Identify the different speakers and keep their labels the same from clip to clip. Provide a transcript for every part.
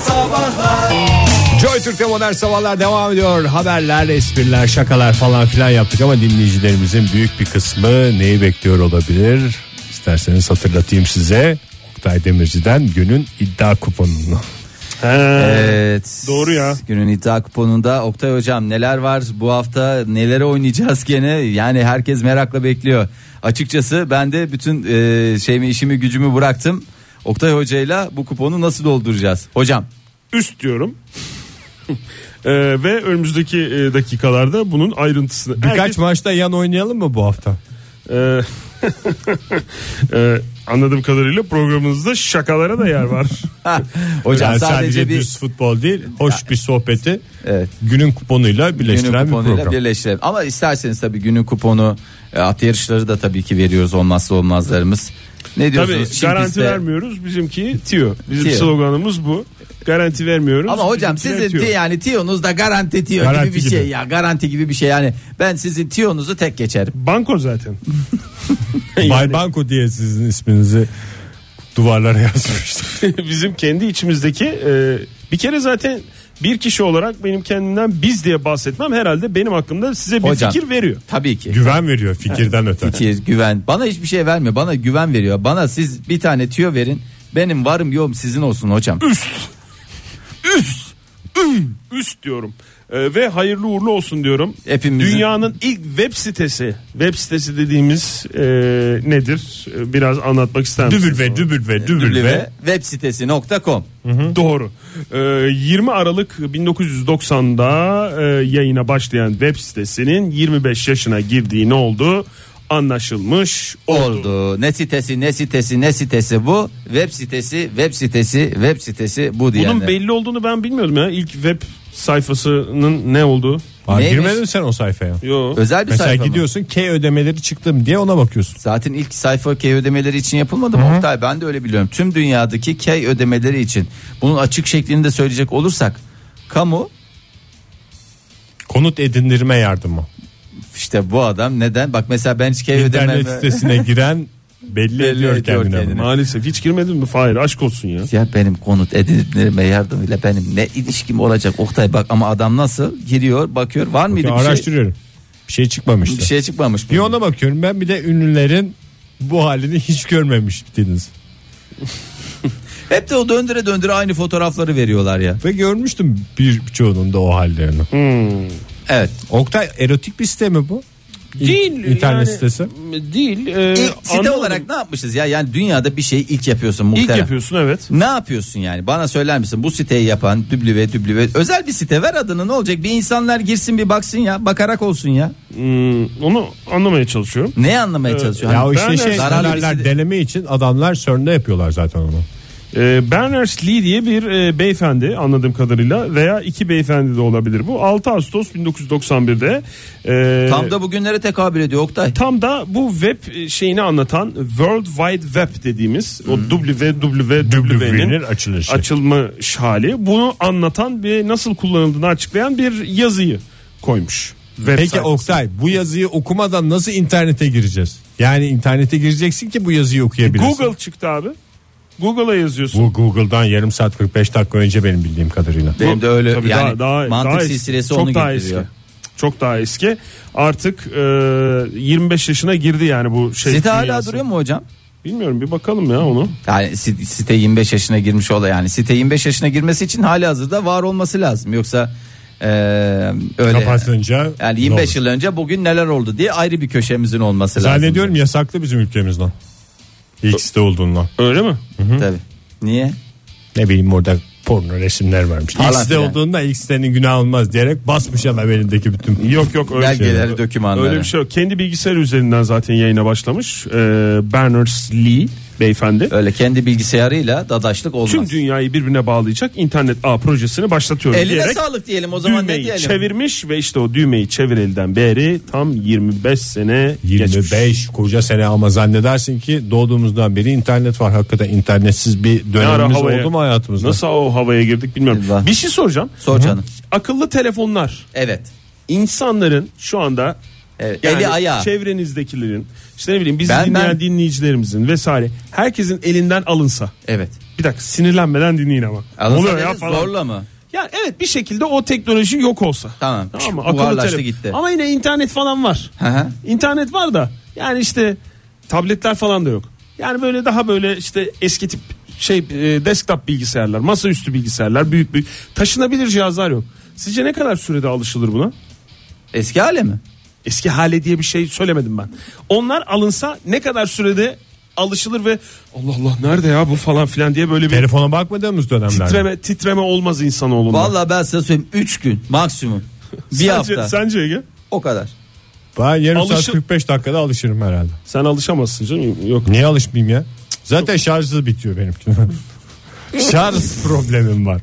Speaker 1: Sabahlar
Speaker 2: Joy Türk'te modern sabahlar devam ediyor. Haberler, espriler, şakalar falan filan yaptık ama dinleyicilerimizin büyük bir kısmı neyi bekliyor olabilir? İsterseniz hatırlatayım size. Oktay Demirci'den günün iddia kuponunu.
Speaker 3: Evet.
Speaker 4: Doğru ya.
Speaker 3: Günün iddia kuponunda Oktay hocam neler var bu hafta nelere oynayacağız gene yani herkes merakla bekliyor. Açıkçası ben de bütün e, şeyimi işimi gücümü bıraktım. Oktay hocayla bu kuponu nasıl dolduracağız? Hocam
Speaker 4: üst diyorum. Ee, ve önümüzdeki e, dakikalarda bunun ayrıntısını
Speaker 2: Birkaç
Speaker 4: Herkes-
Speaker 2: maçta yan oynayalım mı bu hafta?
Speaker 4: Ee, e, anladığım kadarıyla programınızda şakalara da yer var.
Speaker 3: hocam
Speaker 2: Yani
Speaker 3: sadece, bir
Speaker 2: düz futbol değil, hoş bir sohbeti
Speaker 3: Evet.
Speaker 2: günün kuponuyla birleştiren
Speaker 3: günün
Speaker 2: bir
Speaker 3: kuponuyla
Speaker 2: program.
Speaker 3: birleştirelim. Ama isterseniz tabii günün kuponu e, at yarışları da tabii ki veriyoruz olmazsa olmazlarımız. Ne
Speaker 4: Tabii
Speaker 3: diyorsunuz? Çift
Speaker 4: garanti
Speaker 3: liste-
Speaker 4: vermiyoruz. Bizimki tiyo. Bizim
Speaker 3: Tiyo.
Speaker 4: sloganımız bu. Garanti vermiyoruz.
Speaker 3: Ama hocam
Speaker 4: Bizimkiler
Speaker 3: sizin
Speaker 4: tiyo.
Speaker 3: ti- yani tiyonuz da garanti tiyo
Speaker 2: Garanti
Speaker 3: gibi bir
Speaker 2: gibi.
Speaker 3: şey ya. Garanti gibi bir şey yani. Ben sizin tiyonuzu tek geçerim.
Speaker 4: Banko zaten.
Speaker 2: Bay Banko diye sizin isminizi duvarlara yazmıştım.
Speaker 4: Bizim kendi içimizdeki e, bir kere zaten bir kişi olarak benim kendimden biz diye bahsetmem herhalde benim hakkımda size bir
Speaker 3: Hocam.
Speaker 4: fikir veriyor.
Speaker 3: Tabii ki.
Speaker 2: Güven veriyor fikirden öte.
Speaker 3: Fikir, güven. Bana hiçbir şey vermiyor. Bana güven veriyor. Bana siz bir tane tüyo verin. Benim varım yoğum sizin olsun hocam.
Speaker 4: üst diyorum. Ee, ve hayırlı uğurlu olsun diyorum.
Speaker 3: Hepimizin.
Speaker 4: Dünyanın ilk web sitesi. Web sitesi dediğimiz e, nedir? E, Biraz anlatmak ister misiniz?
Speaker 2: Dübül ve dübül ve dübül ve
Speaker 3: Ve web sitesi nokta com.
Speaker 4: Doğru. Ee, 20 Aralık 1990'da e, yayına başlayan web sitesinin 25 yaşına girdiği ne oldu? Anlaşılmış oldu.
Speaker 3: oldu. Ne sitesi ne sitesi ne sitesi bu. Web sitesi web sitesi web sitesi bu diyenler.
Speaker 4: Bunun belli olduğunu ben bilmiyordum ya. İlk web sayfasının ne olduğu?
Speaker 2: Aa,
Speaker 3: Neymiş?
Speaker 2: girmedin mi sen o sayfaya?
Speaker 4: Yo.
Speaker 3: Özel bir
Speaker 2: Mesela
Speaker 3: sayfa mı?
Speaker 2: gidiyorsun K ödemeleri çıktım diye ona bakıyorsun.
Speaker 3: Zaten ilk sayfa key ödemeleri için yapılmadı mı Oktay? Ben de öyle biliyorum. Tüm dünyadaki key ödemeleri için. Bunun açık şeklini de söyleyecek olursak kamu
Speaker 2: Konut edindirme yardımı.
Speaker 3: işte bu adam neden? Bak mesela ben hiç key ödemem.
Speaker 2: İnternet sitesine giren belli,
Speaker 3: Belli
Speaker 2: ediyor
Speaker 3: ediyor
Speaker 2: kendini.
Speaker 3: kendini.
Speaker 4: Maalesef hiç girmedin mi? Hayır aşk olsun ya.
Speaker 3: Ya benim konut edindirme yardımıyla benim ne ilişkim olacak Oktay bak ama adam nasıl giriyor bakıyor var mıydı
Speaker 2: Ya
Speaker 3: bir şey?
Speaker 2: araştırıyorum. Bir şey çıkmamıştı.
Speaker 3: Bir şey çıkmamış.
Speaker 2: Bir ona bakıyorum ben bir de ünlülerin bu halini hiç görmemiştiniz.
Speaker 3: Hep de o döndüre döndüre aynı fotoğrafları veriyorlar ya.
Speaker 2: Ve görmüştüm birçoğunun da o hallerini.
Speaker 3: Evet.
Speaker 2: Oktay erotik bir site mi bu? İn-
Speaker 4: Değil,
Speaker 2: İnternet
Speaker 4: yani-
Speaker 2: sitesi.
Speaker 4: Değil. e,
Speaker 3: İlk site
Speaker 4: anlamadım.
Speaker 3: olarak ne yapmışız ya? Yani dünyada bir şeyi ilk yapıyorsun muhterem.
Speaker 4: İlk yapıyorsun evet.
Speaker 3: Ne yapıyorsun yani? Bana söyler misin? Bu siteyi yapan düblüve düblüve özel bir site ver adını ne olacak? Bir insanlar girsin bir baksın ya. Bakarak olsun ya.
Speaker 4: Hmm, onu anlamaya çalışıyorum.
Speaker 3: Ne anlamaya çalışıyor?
Speaker 2: Ya o
Speaker 3: Hani
Speaker 2: işte
Speaker 4: ben
Speaker 2: şey
Speaker 4: de-
Speaker 3: zararlı bir
Speaker 2: haberler
Speaker 3: site-
Speaker 2: deneme için adamlar CERN'de yapıyorlar zaten onu.
Speaker 4: Ee, Berners Lee diye bir e, beyefendi anladığım kadarıyla veya iki beyefendi de olabilir bu. 6 Ağustos 1991'de e,
Speaker 3: Tam da bugünlere tekabül ediyor Oktay.
Speaker 4: tam da bu web şeyini anlatan World Wide Web dediğimiz o
Speaker 2: WWW'nin
Speaker 4: WWW'nin
Speaker 2: Hmm. açılışı.
Speaker 4: açılmış hali. Bunu anlatan ve nasıl kullanıldığını açıklayan bir yazıyı koymuş. Web
Speaker 2: Peki
Speaker 4: sayfasına.
Speaker 2: Oktay bu yazıyı okumadan nasıl internete gireceğiz? Yani internete gireceksin ki bu yazıyı okuyabilirsin.
Speaker 4: Google çıktı abi. Google'a yazıyorsun.
Speaker 2: Bu Google'dan yarım saat 45 dakika önce benim bildiğim kadarıyla.
Speaker 3: Benim de öyle
Speaker 4: Tabii
Speaker 3: yani mantık
Speaker 4: eski.
Speaker 3: silsilesi
Speaker 4: Çok
Speaker 3: onu
Speaker 4: daha
Speaker 3: getiriyor.
Speaker 4: Eski. Çok daha eski. Artık e, 25 yaşına girdi yani bu şey.
Speaker 3: Site hala
Speaker 4: dünyası.
Speaker 3: duruyor mu hocam?
Speaker 4: Bilmiyorum bir bakalım ya onu.
Speaker 3: Yani sit- site 25 yaşına girmiş ola yani site 25 yaşına girmesi için hali hazırda var olması lazım. Yoksa eee, öyle
Speaker 2: Kapatınca
Speaker 3: yani
Speaker 2: ne
Speaker 3: 25
Speaker 2: olur?
Speaker 3: yıl önce bugün neler oldu diye ayrı bir köşemizin olması lazım.
Speaker 2: Zannediyorum yasaklı bizim ülkemizden. X'te olduğundan.
Speaker 4: Öyle mi?
Speaker 3: Tabii. Niye?
Speaker 2: Ne bileyim orada porno resimler varmış.
Speaker 3: Falan
Speaker 2: X'te
Speaker 3: filan.
Speaker 2: olduğunda X'tenin günah olmaz diyerek basmış ama belindeki bütün.
Speaker 4: Yok yok öyle şey.
Speaker 3: Belgeleri,
Speaker 4: yok.
Speaker 3: dokümanları.
Speaker 4: Öyle bir şey yok. Kendi bilgisayar üzerinden zaten yayına başlamış. E, Berners-Lee beyefendi.
Speaker 3: Öyle kendi bilgisayarıyla dadaşlık olmaz.
Speaker 4: Tüm dünyayı birbirine bağlayacak internet ağ projesini başlatıyorum
Speaker 3: Eline
Speaker 4: diyerek
Speaker 3: sağlık diyelim o zaman ne
Speaker 4: düğmeyi
Speaker 3: diyelim?
Speaker 4: çevirmiş ve işte o düğmeyi çevir elden beri tam 25 sene
Speaker 2: 25
Speaker 4: geçmiş.
Speaker 2: koca sene ama zannedersin ki doğduğumuzdan beri internet var. Hakikaten internetsiz bir
Speaker 4: Ne ara
Speaker 2: dönemimiz
Speaker 4: havaya-
Speaker 2: oldu mu hayatımızda?
Speaker 4: Nasıl o havaya girdik bilmiyorum.
Speaker 3: Eyvah.
Speaker 4: Bir şey soracağım.
Speaker 3: Sor canım.
Speaker 4: Akıllı telefonlar
Speaker 3: Evet.
Speaker 4: insanların şu anda
Speaker 3: Evet,
Speaker 4: yani
Speaker 3: eli ayağı.
Speaker 4: çevrenizdekilerin işte ne bileyim bizi
Speaker 3: Ben-
Speaker 4: dinleyen
Speaker 3: ben-
Speaker 4: dinleyicilerimizin vesaire herkesin elinden alınsa
Speaker 3: Evet.
Speaker 4: bir bir dakika sinirlenmeden dinleyin ama.
Speaker 3: Anlatsa
Speaker 4: Oluyor ya
Speaker 3: deriz,
Speaker 4: falan.
Speaker 3: zorla mı?
Speaker 4: Ya evet bir şekilde o teknoloji yok olsa.
Speaker 3: Tamam.
Speaker 4: mı?
Speaker 3: Buharlaştı
Speaker 4: Akıllı telefon.
Speaker 3: gitti.
Speaker 4: Ama yine internet falan var.
Speaker 3: Hı hı.
Speaker 4: İnternet var da yani işte tabletler falan da yok. Yani böyle daha böyle işte eski tip şey e, desktop bilgisayarlar, masaüstü bilgisayarlar, büyük büyük taşınabilir cihazlar yok. Sizce ne kadar sürede alışılır buna?
Speaker 3: Eski hale mi?
Speaker 4: Eski hale diye bir şey söylemedim ben. Onlar alınsa ne kadar sürede alışılır ve Allah Allah nerede ya bu falan filan diye böyle bir
Speaker 2: Telefona bakmadığımız dönemlerde.
Speaker 4: titreme titreme olmaz insanoğlunda.
Speaker 3: Vallahi ben size söyleyeyim 3 gün maksimum. Bir
Speaker 4: sence,
Speaker 3: hafta.
Speaker 4: Sence Ege?
Speaker 3: O kadar.
Speaker 2: Ben yarım
Speaker 4: Alışın-
Speaker 2: saat 45 dakikada alışırım herhalde.
Speaker 4: Sen alışamazsın canım. Yok.
Speaker 2: Niye alışmayayım ya? Zaten şarjı bitiyor benimki. Şarj problemim var.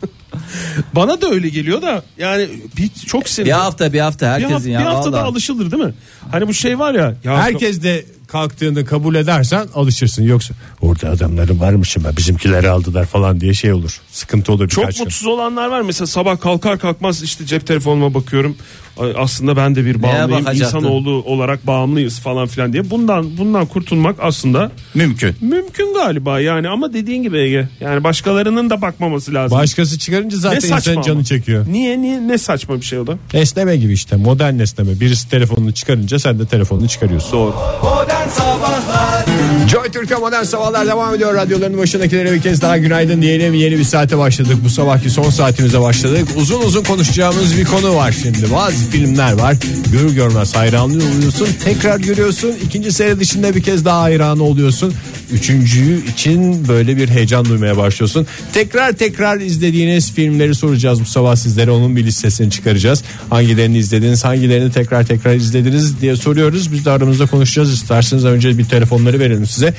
Speaker 4: Bana da öyle geliyor da yani bir, çok sinir.
Speaker 3: Bir hafta bir hafta
Speaker 4: bir,
Speaker 3: herkesin
Speaker 4: hafta,
Speaker 3: ya.
Speaker 4: bir haftada
Speaker 3: vallahi.
Speaker 4: alışılır değil mi? Hani bu şey var ya. ya
Speaker 2: Herkes de kalktığını kabul edersen alışırsın. Yoksa orada adamları varmış ama bizimkileri aldılar falan diye şey olur. Sıkıntı olur
Speaker 4: Çok
Speaker 2: birkaç gün.
Speaker 4: mutsuz olanlar var mesela sabah kalkar kalkmaz işte cep telefonuma bakıyorum. Ay, Aslında ben de bir bağımlıyım.
Speaker 3: bakacaktın?
Speaker 4: İnsanoğlu olarak bağımlıyız falan filan diye. Bundan bundan kurtulmak aslında
Speaker 3: Mümkün.
Speaker 4: mümkün galiba yani ama dediğin gibi Ege. Yani başkalarının da bakmaması lazım.
Speaker 2: Başkası çıkarınca
Speaker 4: Ne
Speaker 2: zaten
Speaker 4: saçma
Speaker 2: insanın canı
Speaker 4: ama.
Speaker 2: çekiyor.
Speaker 4: Niye niye ne saçma bir şey o da?
Speaker 2: Esneme gibi işte modern esneme. Birisi telefonunu çıkarınca sen de telefonunu çıkarıyorsun.
Speaker 4: Doğru.
Speaker 2: Joy Türk'e modern sabahlar devam ediyor. Radyoların başındakilere bir kez daha günaydın diyelim. Yeni bir saate başladık. Bu sabahki son saatimize başladık. Uzun uzun konuşacağımız bir konu var şimdi. Bazı filmler var. Görür görmez hayranlı oluyorsun. Tekrar görüyorsun. İkinci seyredişinde bir kez daha hayranı oluyorsun. Üçüncüyü için böyle bir heyecan duymaya başlıyorsun. Tekrar tekrar izlediğiniz filmleri soracağız bu sabah sizlere. Onun bir listesini çıkaracağız. Hangilerini izlediniz, hangilerini tekrar tekrar izlediniz diye soruyoruz. Biz de aramızda konuşacağız. İsterseniz önce bir telefonları verelim size.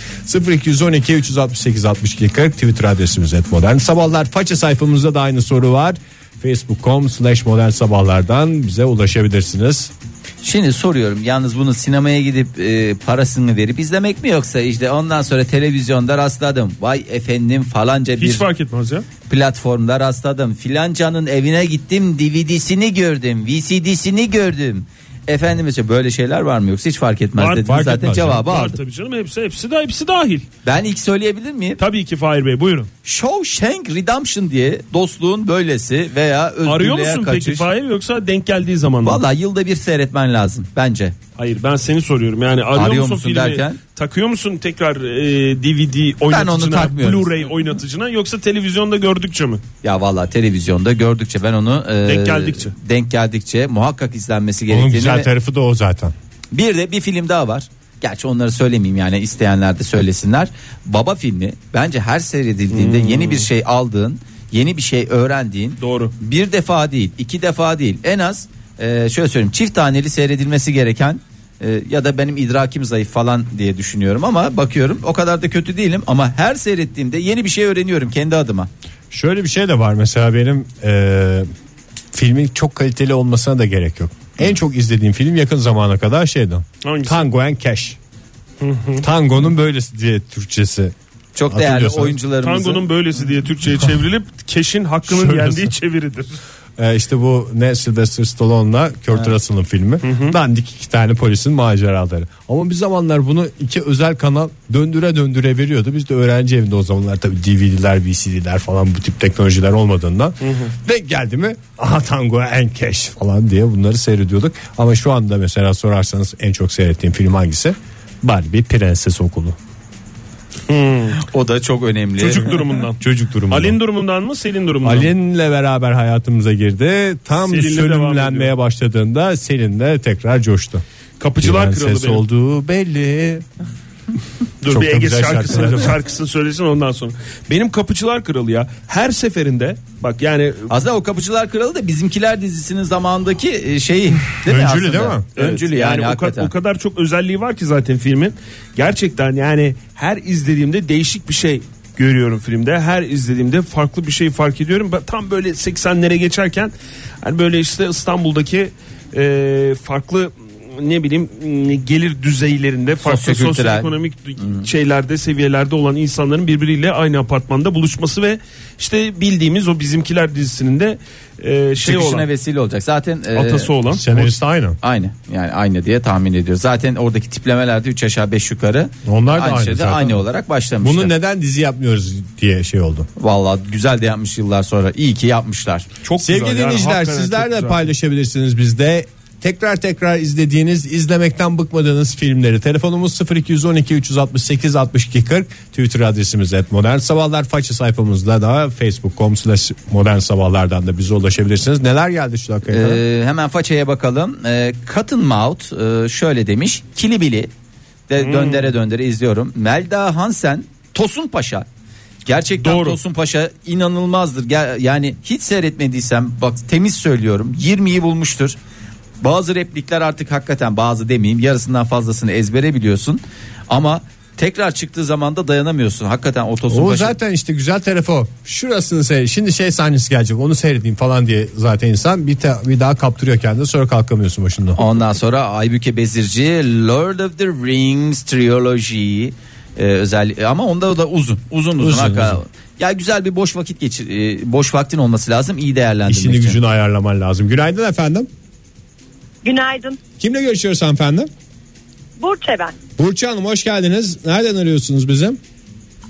Speaker 2: 0212 368 62 40 Twitter adresimiz et modern sabahlar. Faça sayfamızda da aynı soru var. Facebook.com slash modern sabahlardan bize ulaşabilirsiniz.
Speaker 3: Şimdi soruyorum yalnız bunu sinemaya gidip e, parasını verip izlemek mi yoksa işte ondan sonra televizyonda rastladım. Vay efendim falanca bir
Speaker 4: Hiç fark etmez ya.
Speaker 3: platformda rastladım. Filancanın evine gittim DVD'sini gördüm VCD'sini gördüm. Efendim mesela böyle şeyler var mı yoksa hiç fark etmez
Speaker 4: Var,
Speaker 3: dediniz
Speaker 2: fark
Speaker 3: zaten
Speaker 2: etmez
Speaker 3: cevabı
Speaker 4: Var
Speaker 3: aldım.
Speaker 4: tabii canım hepsi hepsi de hepsi dahil.
Speaker 3: Ben ilk söyleyebilir miyim?
Speaker 4: Tabii ki Fahir Bey buyurun.
Speaker 3: Shawshank Redemption diye dostluğun böylesi veya özgürlüğe
Speaker 4: Arıyor musun
Speaker 3: kaçış.
Speaker 4: peki Fahir yoksa denk geldiği zaman mı?
Speaker 3: Valla yılda bir seyretmen lazım bence.
Speaker 4: Hayır ben seni soruyorum yani arıyor,
Speaker 3: Arıyor
Speaker 4: musun,
Speaker 3: musun
Speaker 4: filmi
Speaker 3: derken?
Speaker 4: takıyor musun tekrar e, DVD
Speaker 3: onu
Speaker 4: oynatıcına
Speaker 3: takmıyorum.
Speaker 4: Blu-ray oynatıcına yoksa televizyonda gördükçe mi?
Speaker 3: Ya valla televizyonda gördükçe ben onu e,
Speaker 4: Denk geldikçe.
Speaker 3: denk geldikçe muhakkak izlenmesi
Speaker 2: Onun
Speaker 3: gerektiğini.
Speaker 2: güzel
Speaker 3: ve-
Speaker 2: tarafı da o zaten.
Speaker 3: Bir de bir film daha var. Gerçi onları söylemeyeyim yani isteyenler de söylesinler. Baba filmi bence her seyredildiğinde yeni bir şey aldığın, yeni bir şey öğrendiğin.
Speaker 4: Doğru.
Speaker 3: Bir defa değil, iki defa değil. En az e, şöyle söyleyeyim çift taneli seyredilmesi gereken e, ya da benim idrakim zayıf falan diye düşünüyorum ama bakıyorum o kadar da kötü değilim ama her seyrettiğimde yeni bir şey öğreniyorum kendi adıma.
Speaker 2: Şöyle bir şey de var mesela benim e, filmin çok kaliteli olmasına da gerek yok. En çok izlediğim film yakın zamana kadar şeydi.
Speaker 4: Hangisi?
Speaker 2: Tango and Cash. Tango'nun böylesi diye Türkçesi.
Speaker 3: Çok değerli
Speaker 2: Hatırlıyorsanız.
Speaker 3: oyuncularımızın
Speaker 4: Tango'nun böylesi diye Türkçe'ye çevrilip Keş'in hakkının
Speaker 2: Şöylesin.
Speaker 4: yendiği çeviridir.
Speaker 2: E, işte bu ne Sylvester Stallone'la Kurt Russell'ın filmi. Dandik iki tane polisin maceraları. Ama bir zamanlar bunu iki özel kanal döndüre döndüre veriyordu. Biz de öğrenci evinde o zamanlar tabii DVD'ler, VCD'ler falan bu tip teknolojiler olmadığından. Denk geldi mi? Aha Tango and Cash falan diye bunları seyrediyorduk. Ama şu anda mesela sorarsanız en çok seyrettiğim film hangisi? Barbie Prenses Okulu.
Speaker 3: o da çok önemli.
Speaker 4: Çocuk durumundan.
Speaker 2: Çocuk durumu.
Speaker 4: Ali'nin durumundan mı Selin durumundan mı?
Speaker 2: Ali'ninle beraber hayatımıza girdi. Tam
Speaker 4: Selin'le devam
Speaker 2: sönümlenmeye
Speaker 4: ediyor.
Speaker 2: başladığında Selin'le tekrar coştu.
Speaker 4: Kapıcılar
Speaker 2: Prenses
Speaker 4: kralı benim.
Speaker 2: olduğu belli.
Speaker 4: Dur
Speaker 2: Çok
Speaker 4: bir
Speaker 2: da
Speaker 4: Ege
Speaker 2: güzel şarkıları
Speaker 4: şarkısını,
Speaker 2: var.
Speaker 4: şarkısını söylesin ondan sonra. Benim Kapıcılar Kralı ya her seferinde bak yani
Speaker 3: Aslında o Kapıcılar Kralı da bizimkiler dizisinin zamandaki e, şeyi değil mi
Speaker 2: Öncülü
Speaker 3: aslında?
Speaker 2: değil mi?
Speaker 4: Evet,
Speaker 3: Öncülü yani,
Speaker 4: o, ka-
Speaker 3: hakikaten.
Speaker 4: o kadar çok özelliği var ki zaten filmin. Gerçekten yani her izlediğimde değişik bir şey görüyorum filmde. Her izlediğimde farklı bir şey fark ediyorum. Ben tam böyle 80'lere geçerken hani böyle işte İstanbul'daki e, farklı ne bileyim m, gelir düzeylerinde farklı
Speaker 3: Sosyokültürel.
Speaker 4: sosyoekonomik şeylerde seviyelerde olan insanların birbiriyle aynı apartmanda buluşması ve işte bildiğimiz o bizimkiler dizisinin de e, şey
Speaker 3: Çıkışına
Speaker 4: olan
Speaker 3: vesile olacak. Zaten e,
Speaker 4: atası olan
Speaker 2: Senarist aynı.
Speaker 3: Aynı yani aynı diye tahmin ediyoruz. Zaten oradaki tiplemelerde 3 aşağı 5 yukarı.
Speaker 2: Onlar da
Speaker 3: aynı,
Speaker 2: aynı
Speaker 3: şeyde
Speaker 2: zaten.
Speaker 3: aynı olarak başlamışlar.
Speaker 2: Bunu neden dizi yapmıyoruz diye şey oldu.
Speaker 3: Vallahi güzel de yapmış yıllar sonra. İyi ki yapmışlar.
Speaker 4: çok
Speaker 2: Sevgili
Speaker 4: güzel yani,
Speaker 2: dinleyiciler
Speaker 4: hakikaten çok
Speaker 2: sizler de
Speaker 4: güzel.
Speaker 2: paylaşabilirsiniz bizde. Tekrar tekrar izlediğiniz, izlemekten bıkmadığınız filmleri. Telefonumuz 0212 368 62 40. Twitter adresimiz et modern sabahlar. Faça sayfamızda da facebook.com slash modern sabahlardan da bize ulaşabilirsiniz. Neler geldi şu dakikaya kadar?
Speaker 3: Ee, hemen façaya bakalım. Ee, Cottonmouth e, şöyle demiş. Kilibili de döndere döndere izliyorum. Melda Hansen Tosun Paşa. Gerçekten
Speaker 4: Doğru.
Speaker 3: Tosun Paşa inanılmazdır. Ger- Yani hiç seyretmediysem bak temiz söylüyorum 20'yi bulmuştur. Bazı replikler artık hakikaten bazı demeyeyim yarısından fazlasını ezbere biliyorsun. Ama tekrar çıktığı zaman da dayanamıyorsun. Hakikaten o Tosun
Speaker 2: O
Speaker 3: Paşa.
Speaker 2: zaten işte güzel telefon. Şurasını seyret. Şimdi şey sahnesi gelecek. Onu seyredeyim falan diye zaten insan bir, te- bir daha kaptırıyor kendini. Sonra kalkamıyorsun başından.
Speaker 3: Ondan sonra Aybüke Bezirci Lord of the Rings Trilogy e, özel ama onda da uzun uzun uzun,
Speaker 2: Uzun,
Speaker 3: hakikaten.
Speaker 2: uzun.
Speaker 3: Ya güzel bir boş vakit geçir e, boş vaktin olması lazım iyi değerlendirmek
Speaker 2: İşini
Speaker 3: için.
Speaker 2: gücünü ayarlaman lazım. Günaydın efendim.
Speaker 1: Günaydın.
Speaker 2: Kimle görüşüyoruz hanımefendi?
Speaker 1: Burçe ben.
Speaker 2: Burcu Hanım hoş geldiniz. Nereden arıyorsunuz bizim?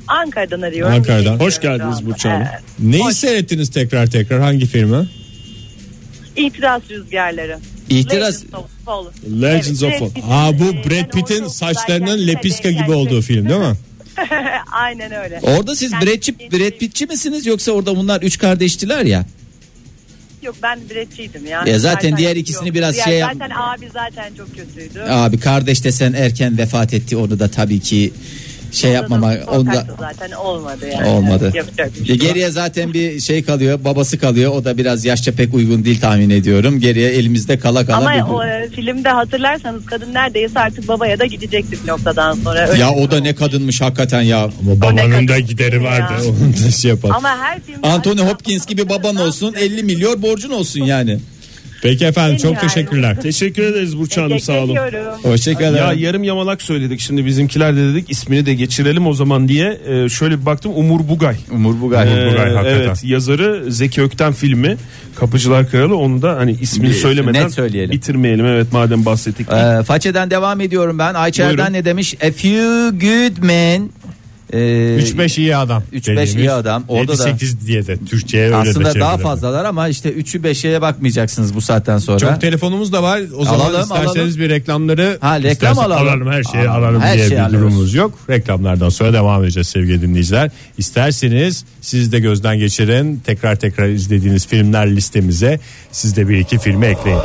Speaker 1: Ankara'dan arıyorum.
Speaker 2: Ankara'dan.
Speaker 4: Hoş geldiniz Burç Hanım.
Speaker 1: Evet.
Speaker 2: Neyi seyrettiniz tekrar tekrar? Hangi filmi?
Speaker 1: Ee, İtiraz rüzgarları.
Speaker 3: İtiraz
Speaker 1: Legends of Fall.
Speaker 4: Legends
Speaker 1: Evet,
Speaker 4: of Fall.
Speaker 2: Aa bu
Speaker 1: Ee,
Speaker 2: Brad
Speaker 1: ben
Speaker 2: Pitt'in
Speaker 1: onu
Speaker 2: saçlarının
Speaker 1: okuldayken
Speaker 2: lepiska gibi
Speaker 1: lisedeyken-
Speaker 2: olduğu film değil mi?
Speaker 1: Aynen öyle.
Speaker 3: orada siz
Speaker 1: Yani
Speaker 3: Brad, Pitt, Brad Pitt'çi misiniz yoksa orada bunlar üç kardeştiler ya
Speaker 1: Yok ben Brad'çiydim ya.
Speaker 3: Ya zaten diğer ikisini biraz
Speaker 1: diğer,
Speaker 3: şey yap- şey
Speaker 1: Zaten abi zaten çok kötüydü.
Speaker 3: abi kardeş desen erken vefat etti onu da tabii ki şey yapmama onda
Speaker 1: onda zaten olmadı yani.
Speaker 3: olmadı.
Speaker 1: Yapacak bir
Speaker 3: Ya
Speaker 1: şey yok.
Speaker 3: geriye zaten bir şey kalıyor babası kalıyor o da biraz yaşça pek uygun değil tahmin ediyorum geriye elimizde kala kala
Speaker 1: Ama
Speaker 3: bir-
Speaker 1: o e, filmde hatırlarsanız kadın neredeyse artık babaya da gidecekti bir noktadan sonra. Öyle
Speaker 3: Ya
Speaker 1: bir
Speaker 3: o da
Speaker 1: durum.
Speaker 3: ne kadınmış hakikaten ya.
Speaker 2: Ama babanın
Speaker 1: kadın
Speaker 2: da gideri
Speaker 1: film
Speaker 2: vardı.
Speaker 1: ya.
Speaker 2: Onu da şey yapalım.
Speaker 1: Ama her filmde...
Speaker 3: Anthony Hopkins gibi baban olsun 50 milyon borcun olsun yani.
Speaker 2: Peki efendim
Speaker 1: Benim
Speaker 2: çok
Speaker 1: yani.
Speaker 2: teşekkürler.
Speaker 4: Teşekkür ederiz Burç Hanım sağ olun.
Speaker 1: Bekliyorum.
Speaker 3: Hoşçakalın.
Speaker 4: Ya yarım yamalak söyledik şimdi bizimkiler de dedik ismini de geçirelim o zaman diye Ee, şöyle bir baktım Umur Bugay.
Speaker 3: Umur Bugay.
Speaker 4: Ee,
Speaker 2: Bugay, hakikaten.
Speaker 4: evet yazarı Zeki Ökten filmi Kapıcılar Kralı onu da hani ismini
Speaker 3: Bir-
Speaker 4: söylemeden
Speaker 3: net söyleyelim.
Speaker 4: bitirmeyelim evet madem bahsettik.
Speaker 3: Ee, façeden devam ediyorum ben. Ayça
Speaker 4: Buyurun.
Speaker 3: Erden ne demiş? A few good men. Ee,
Speaker 2: 3-5 iyi adam.
Speaker 3: Üç beş iyi adam. Orada da-
Speaker 2: 8 diye de Türkçe'ye öyle de
Speaker 3: aslında daha
Speaker 2: çevirelim.
Speaker 3: fazlalar ama işte 3'ü 5'e bakmayacaksınız bu saatten sonra.
Speaker 2: Çok telefonumuz da var. O zaman
Speaker 3: Alalım,
Speaker 2: isterseniz
Speaker 3: alalım.
Speaker 2: bir reklamları
Speaker 3: Ha, reklam
Speaker 2: isterseniz
Speaker 3: alalım.
Speaker 2: her şeyi
Speaker 3: Alalım,
Speaker 2: alalım
Speaker 3: her
Speaker 2: diye
Speaker 3: şeyi
Speaker 2: bir
Speaker 3: alıyoruz.
Speaker 2: durumumuz yok. Reklamlardan sonra devam edeceğiz sevgili dinleyiciler. İsterseniz siz de gözden geçirin. Tekrar tekrar izlediğiniz filmler listemize siz de bir iki filmi ekleyin.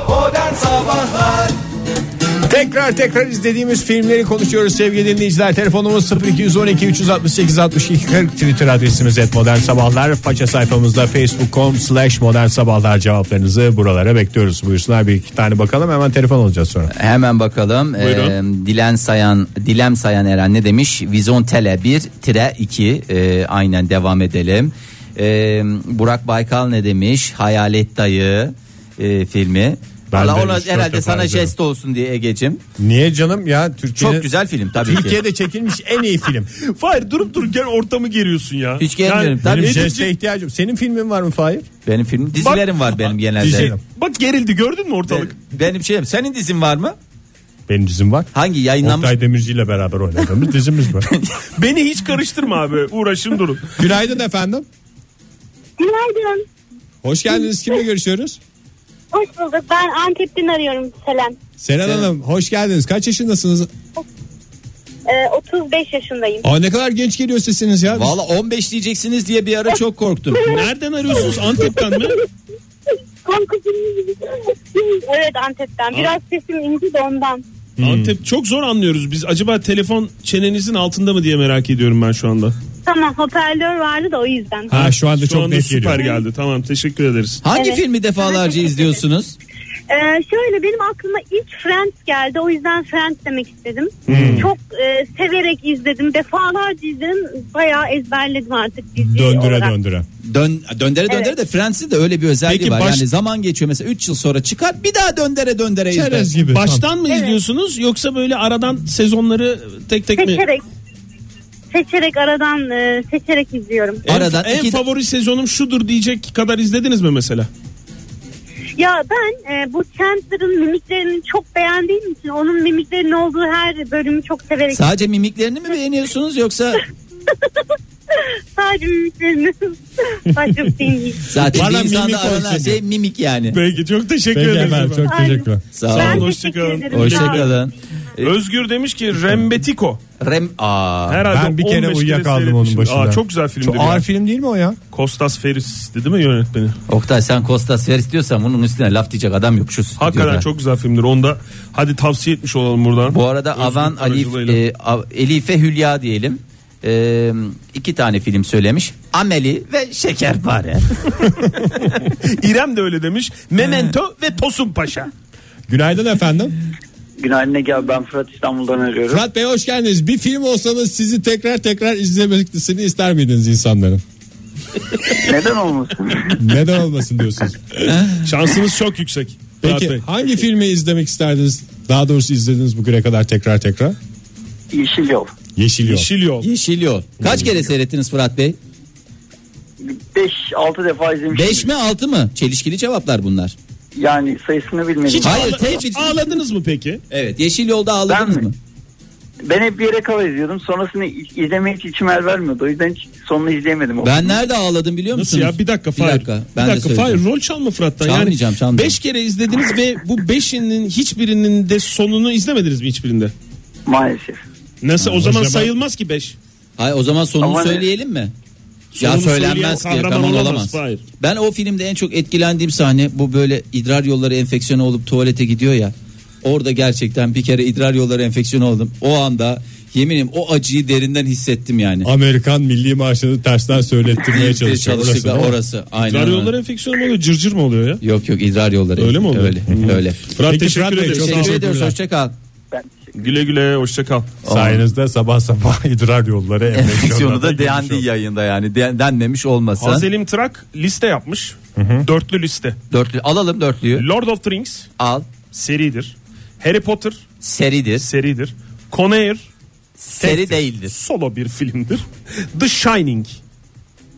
Speaker 2: Tekrar tekrar izlediğimiz filmleri konuşuyoruz sevgili dinleyiciler. Telefonumuz 0212 368 62 40 Twitter adresimiz et modern sabahlar. Faça sayfamızda facebook.com slash modern sabahlar cevaplarınızı buralara bekliyoruz. Buyursunlar bir iki tane bakalım hemen telefon alacağız sonra.
Speaker 3: Hemen bakalım.
Speaker 4: Buyurun.
Speaker 3: Ee, Dilen Sayan, Dilem Sayan Eren ne demiş? Vizontele 1 tire 2. Ee, aynen devam edelim. Ee, Burak Baykal ne demiş? Hayalet Dayı e, filmi.
Speaker 2: Ben
Speaker 3: Valla
Speaker 2: de
Speaker 3: ona
Speaker 2: üç, dört
Speaker 3: herhalde
Speaker 2: defa
Speaker 3: sana
Speaker 2: izledim.
Speaker 3: jest olsun diye Ege'cim.
Speaker 2: Niye canım ya
Speaker 3: Çok
Speaker 2: Türkiye'nin
Speaker 3: güzel film tabii ki.
Speaker 2: Türkiye'de çekilmiş en iyi film.
Speaker 4: Fahir durup dururken ortamı geriyorsun ya.
Speaker 3: Hiç germiyorum. Tabii.
Speaker 2: Benim
Speaker 3: Edici-
Speaker 2: jeste ihtiyacım. Senin filmin var mı Fahir?
Speaker 3: Benim film dizilerim var benim genelde.
Speaker 2: dizi-
Speaker 4: Bak gerildi gördün mü
Speaker 3: Ben-
Speaker 4: ortalık?
Speaker 3: Benim şeyim. Senin dizin var mı?
Speaker 2: Benim dizim var.
Speaker 3: Hangi yayınlanmış?
Speaker 2: Oktay Demirci ile beraber oynadığımız dizimiz var.
Speaker 4: Beni hiç karıştırma abi uğraşın durun.
Speaker 2: Günaydın efendim.
Speaker 5: Günaydın.
Speaker 2: Hoş geldiniz. Kimle görüşüyoruz?
Speaker 5: Hoş bulduk. Ben Antep'ten arıyorum Selam.
Speaker 2: Seren Hanım hoş geldiniz. Kaç yaşındasınız?
Speaker 5: Ee, 35 yaşındayım.
Speaker 2: Aa, ne kadar genç geliyor sesiniz ya.
Speaker 3: Valla 15 diyeceksiniz diye bir ara çok korktum.
Speaker 4: Nereden arıyorsunuz Antep'ten mi?
Speaker 5: evet Antep'ten. Biraz sesim inci de ondan.
Speaker 2: Hmm.
Speaker 4: Antep çok zor anlıyoruz biz. Acaba telefon çenenizin altında mı diye merak ediyorum ben şu anda.
Speaker 5: Tamam hoparlör vardı da o yüzden.
Speaker 2: Ha şu anda
Speaker 4: Şu
Speaker 2: çok
Speaker 4: anda
Speaker 2: net
Speaker 4: süper
Speaker 2: geliyor.
Speaker 4: geldi. Tamam teşekkür ederiz.
Speaker 3: Hangi
Speaker 5: Evet.
Speaker 3: filmi defalarca izliyorsunuz?
Speaker 5: Ee, şöyle benim aklıma ilk Friends geldi. O yüzden Friends demek istedim.
Speaker 2: Hmm.
Speaker 5: Çok e, severek izledim. Defalarca izledim. Bayağı ezberledim artık. dizi
Speaker 2: Döndüre
Speaker 5: olarak.
Speaker 2: döndüre.
Speaker 3: dön döndere döndere
Speaker 6: Evet.
Speaker 3: de Friends'in de öyle bir özelliği
Speaker 4: Peki
Speaker 3: var.
Speaker 4: baş-
Speaker 3: Yani zaman geçiyor mesela 3 yıl sonra çıkar bir daha döndere döndere izler.
Speaker 2: Çerez gibi.
Speaker 4: Baştan mı izliyorsunuz yoksa böyle aradan sezonları tek tek mi?
Speaker 6: Seçerek. Seçerek aradan e, seçerek izliyorum.
Speaker 4: En,
Speaker 3: Aradan
Speaker 4: en
Speaker 3: iki-
Speaker 4: favori sezonum şudur diyecek kadar izlediniz mi mesela?
Speaker 6: Ya ben e, bu Chandler'ın mimiklerini çok beğendiğim için onun mimiklerinin olduğu her bölümü çok severek
Speaker 3: Sadece mimiklerini mi beğeniyorsunuz yoksa
Speaker 6: sadece mimiklerini başka bir şeyim değil.
Speaker 3: zaten bir
Speaker 2: Bana mimik
Speaker 3: insanda aranan her
Speaker 2: olsun.
Speaker 3: şey mimik yani.
Speaker 4: Peki çok teşekkür
Speaker 2: Peki efendim çok
Speaker 6: Aynen.
Speaker 2: teşekkürler.
Speaker 3: Sağ
Speaker 6: Ben
Speaker 3: olun.
Speaker 6: teşekkür
Speaker 4: hoşçakalın.
Speaker 6: ederim.
Speaker 3: Hoşçakalın.
Speaker 4: Özgür demiş ki Rembetiko.
Speaker 3: Rem Aa.
Speaker 4: Herhalde
Speaker 2: Ben bir kere
Speaker 4: 15 kere
Speaker 2: uyuyakaldım onun
Speaker 4: seyretmişim.
Speaker 2: başında.
Speaker 4: Aa, çok güzel filmdi.
Speaker 2: Çok
Speaker 4: bir
Speaker 2: ağır
Speaker 4: ya.
Speaker 2: film değil mi o ya?
Speaker 4: Kostas Feris'ti değil mi yönetmeni?
Speaker 3: Oktay sen Kostas ver istiyorsan bunun üstüne laf diyecek adam yok şu stüdyoda.
Speaker 4: Hakikaten çok güzel filmdir. Onda hadi tavsiye etmiş olalım buradan.
Speaker 3: Bu arada
Speaker 4: Özgür
Speaker 3: Avan Alif,
Speaker 4: aracılığıyla.
Speaker 3: e, A- Elife Hülya diyelim. E, iki tane film söylemiş. Ameli ve Şekerpare.
Speaker 4: İrem de öyle demiş. Memento ve Tosun Paşa.
Speaker 2: Günaydın efendim.
Speaker 7: Günaydın Ege abi ben Fırat İstanbul'dan arıyorum.
Speaker 2: Fırat Bey hoş geldiniz. Bir film olsanız sizi tekrar tekrar izlemesini ister miydiniz insanların?
Speaker 7: Neden olmasın?
Speaker 2: Neden olmasın diyorsunuz.
Speaker 4: Şansınız çok yüksek. Fırat
Speaker 2: Peki
Speaker 4: Bey.
Speaker 2: hangi filmi izlemek isterdiniz? Daha doğrusu izlediniz bugüne kadar tekrar tekrar.
Speaker 7: Yeşil Yol.
Speaker 2: Yeşil Yol.
Speaker 4: Yeşil Yol.
Speaker 3: Yeşil Yol. Kaç kere seyrettiniz Fırat Bey?
Speaker 7: 5-6 defa izlemiştim.
Speaker 3: 5 mi 6 mı? Çelişkili cevaplar bunlar.
Speaker 7: Yani sayısını bilmedim.
Speaker 4: Hiç,
Speaker 3: Hayır,
Speaker 4: ağla-
Speaker 3: teyp-
Speaker 4: hiç ağladınız mı peki?
Speaker 3: Evet Yeşil Yol'da ağladınız
Speaker 7: Ben mi?
Speaker 3: mı?
Speaker 7: Ben hep bir yere kala izliyordum. Sonrasını iz- izlemeye hiç içim el vermiyordu. O yüzden hiç sonunu izleyemedim.
Speaker 3: Ben nerede ağladım biliyor
Speaker 4: Nasıl
Speaker 3: musunuz?
Speaker 4: ya? Bir dakika Fahir.
Speaker 3: Bir dakika. Ben
Speaker 4: bir
Speaker 3: de
Speaker 4: dakika Fahir.
Speaker 3: söyleyeceğim.
Speaker 4: Rol çalma Fırat'tan.
Speaker 3: Çalmayacağım,
Speaker 4: yani
Speaker 3: çalmayacağım.
Speaker 4: Beş kere izlediniz ve bu beşinin hiçbirinin de sonunu izlemediniz mi hiçbirinde?
Speaker 7: Maalesef.
Speaker 4: Nasıl? o zaman
Speaker 2: acaba-
Speaker 4: sayılmaz ki beş.
Speaker 3: Hayır o zaman sonunu
Speaker 7: Ama ne?
Speaker 3: söyleyelim mi? ya
Speaker 4: Sonunu
Speaker 3: söylenmez ki
Speaker 4: söyleyen kahraman
Speaker 3: kahraman
Speaker 4: olamaz,
Speaker 3: olamaz.
Speaker 4: Fahir.
Speaker 3: Ben o filmde en çok etkilendiğim sahne bu böyle idrar yolları enfeksiyonu olup tuvalete gidiyor ya. Orada gerçekten bir kere idrar yolları enfeksiyonu oldum. O anda yeminim o acıyı derinden hissettim yani.
Speaker 2: Amerikan Milli Marşı'nı tersten söylettirmeye
Speaker 3: Bir
Speaker 2: çalışıyor. Orası,
Speaker 3: çalıştık ve
Speaker 2: değil mi?
Speaker 3: orası. Aynen.
Speaker 4: Dar
Speaker 3: öyle.
Speaker 4: yolları enfeksiyonu mu oluyor? Cırcır mı oluyor ya?
Speaker 3: Yok yok idrar yolları.
Speaker 4: Öyle mi oluyor?
Speaker 3: Öyle. Öyle.
Speaker 4: Fırat
Speaker 2: Peki
Speaker 4: teşekkür
Speaker 2: Fırat Bey,
Speaker 4: ederiz.
Speaker 2: çok
Speaker 4: Sağ olun.
Speaker 3: Teşekkür ediyoruz.
Speaker 2: teşekkürler.
Speaker 3: Hoşça kal.
Speaker 7: Ben
Speaker 4: Güle güle hoşça kal.
Speaker 8: Sayenizde sabah sabah idrar yolları
Speaker 3: Enfeksiyonu
Speaker 8: enfeksiyonu
Speaker 3: da dendi yayında yani. Den- denmemiş olmasa.
Speaker 4: Azelim Trak liste yapmış. Dörtlü liste.
Speaker 3: Dörtlü alalım dörtlüyü.
Speaker 4: Lord of the Rings
Speaker 3: Al.
Speaker 4: seridir. Harry Potter
Speaker 3: Seridir.
Speaker 4: seridir. Conair
Speaker 3: Seri değildir.
Speaker 4: solo bir filmdir. The Shining.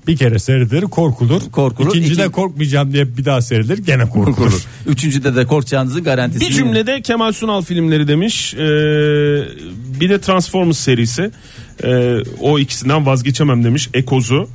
Speaker 8: Bir kere serilir korkulur.
Speaker 3: Korkulur.
Speaker 8: İkinci de
Speaker 3: İki-
Speaker 8: korkmayacağım diye bir daha serilir gene korkulur.
Speaker 3: Üçüncüde de korkacağınızın garantisi.
Speaker 4: Bir cümlede Kemal Sunal filmleri demiş. Ee, bir de Transformers serisi. Ee, o ikisinden vazgeçemem demiş. Ekozu.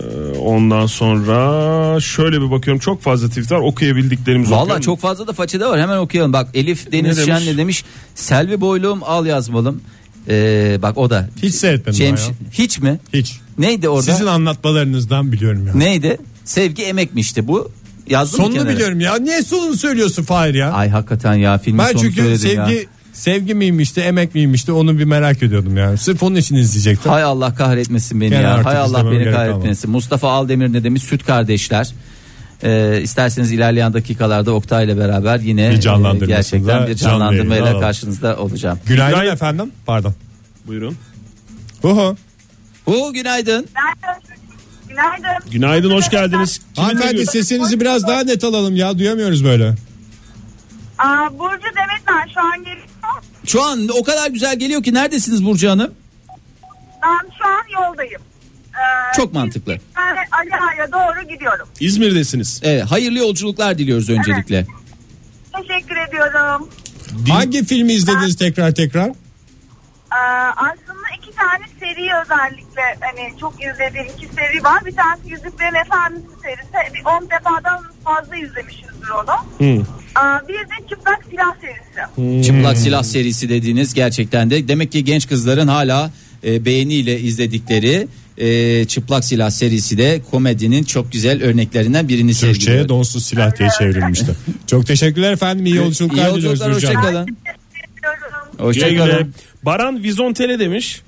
Speaker 4: Ee, ondan sonra şöyle bir bakıyorum. Çok fazla tweet var. Okuyabildiklerimiz
Speaker 3: Valla
Speaker 4: okuyorum.
Speaker 3: çok fazla da façede var. Hemen okuyalım. Bak Elif Deniz
Speaker 4: Ne
Speaker 3: ne
Speaker 4: demiş?
Speaker 3: Şen'le demiş. Selvi boyluğum al yazmalım. Ee, bak o da.
Speaker 2: Hiç seyretmedim ben
Speaker 3: Cemş-
Speaker 2: ya.
Speaker 3: Hiç mi?
Speaker 2: Hiç.
Speaker 3: Neydi Şey, orada?
Speaker 2: Sizin anlatmalarınızdan biliyorum ya.
Speaker 3: Neydi? Sevgi emekmişti bu. Yazdın mı
Speaker 2: Sonunu
Speaker 3: kenara?
Speaker 2: biliyorum ya. Niye sonunu söylüyorsun Fahir ya?
Speaker 3: Ay hakikaten ya filmin
Speaker 2: ben
Speaker 3: sonu
Speaker 2: çünkü
Speaker 3: söyledin
Speaker 2: sevgi
Speaker 3: ya.
Speaker 2: sevgi miymişti, emek miymişti onu bir merak ediyordum yani. Sırf onun için izleyecektim.
Speaker 3: Hay Allah kahretmesin beni
Speaker 2: Gene
Speaker 3: ya.
Speaker 2: artık
Speaker 3: Hay Allah
Speaker 2: izlememe
Speaker 3: beni
Speaker 2: gerek
Speaker 3: kahretmesin. Mustafa Aldemir ne demiş? Süt kardeşler. Ee, isterseniz ilerleyen dakikalarda Oktay ile beraber yine
Speaker 2: Bir canlandırmasıyla,
Speaker 3: e, gerçekten bir
Speaker 2: canlı yayında
Speaker 3: canlandırmayla
Speaker 2: alalım.
Speaker 3: karşınızda olacağım.
Speaker 2: Günaydın
Speaker 4: Günaydın.
Speaker 2: efendim. Pardon.
Speaker 4: Buyurun.
Speaker 2: Oho.
Speaker 3: Hu günaydın.
Speaker 6: Günaydın.
Speaker 4: Günaydın hoş geldiniz. Kimi
Speaker 2: Hanımefendi
Speaker 4: dinliyoruz?
Speaker 2: sesinizi biraz daha net alalım ya. Duyamıyoruz böyle.
Speaker 6: Aa, Burcu Demetler şu an geliyor.
Speaker 3: Şu an o kadar güzel geliyor ki neredesiniz Burcu Hanım?
Speaker 6: Ben şu an yoldayım. Ee,
Speaker 3: Çok mantıklı.
Speaker 6: Ben Ali Ağa'ya doğru gidiyorum.
Speaker 4: İzmir'desiniz.
Speaker 3: Evet, hayırlı yolculuklar diliyoruz öncelikle.
Speaker 6: Teşekkür ediyorum.
Speaker 2: Hangi filmi izlediniz tekrar tekrar?
Speaker 6: Ee, aslında iki tane seri özellikle hani çok izlediğim iki seri var. Bir tanesi Yüzüklerin Efendisi serisi. Bir 10 defadan fazla izlemişizdir onu. Ee, bir de Çıplak Silah serisi.
Speaker 2: Hmm.
Speaker 3: Çıplak silah serisi dediğiniz gerçekten de demek ki genç kızların hala e, beğeniyle izledikleri e, çıplak silah serisi de komedinin çok güzel örneklerinden birini
Speaker 2: Türkçe'ye
Speaker 3: sergiliyor.
Speaker 2: donsuz silah diye çevrilmişti. Çok teşekkürler efendim. İyi
Speaker 3: İyi
Speaker 2: yolculuklar diliyoruz.
Speaker 3: yolculuklar
Speaker 2: Gürcan.
Speaker 3: hoşçakalın.
Speaker 6: Teşekkür ediyorum.
Speaker 4: Güle güle.
Speaker 3: Hoşçakalın.
Speaker 4: Baran Vizontele demiş.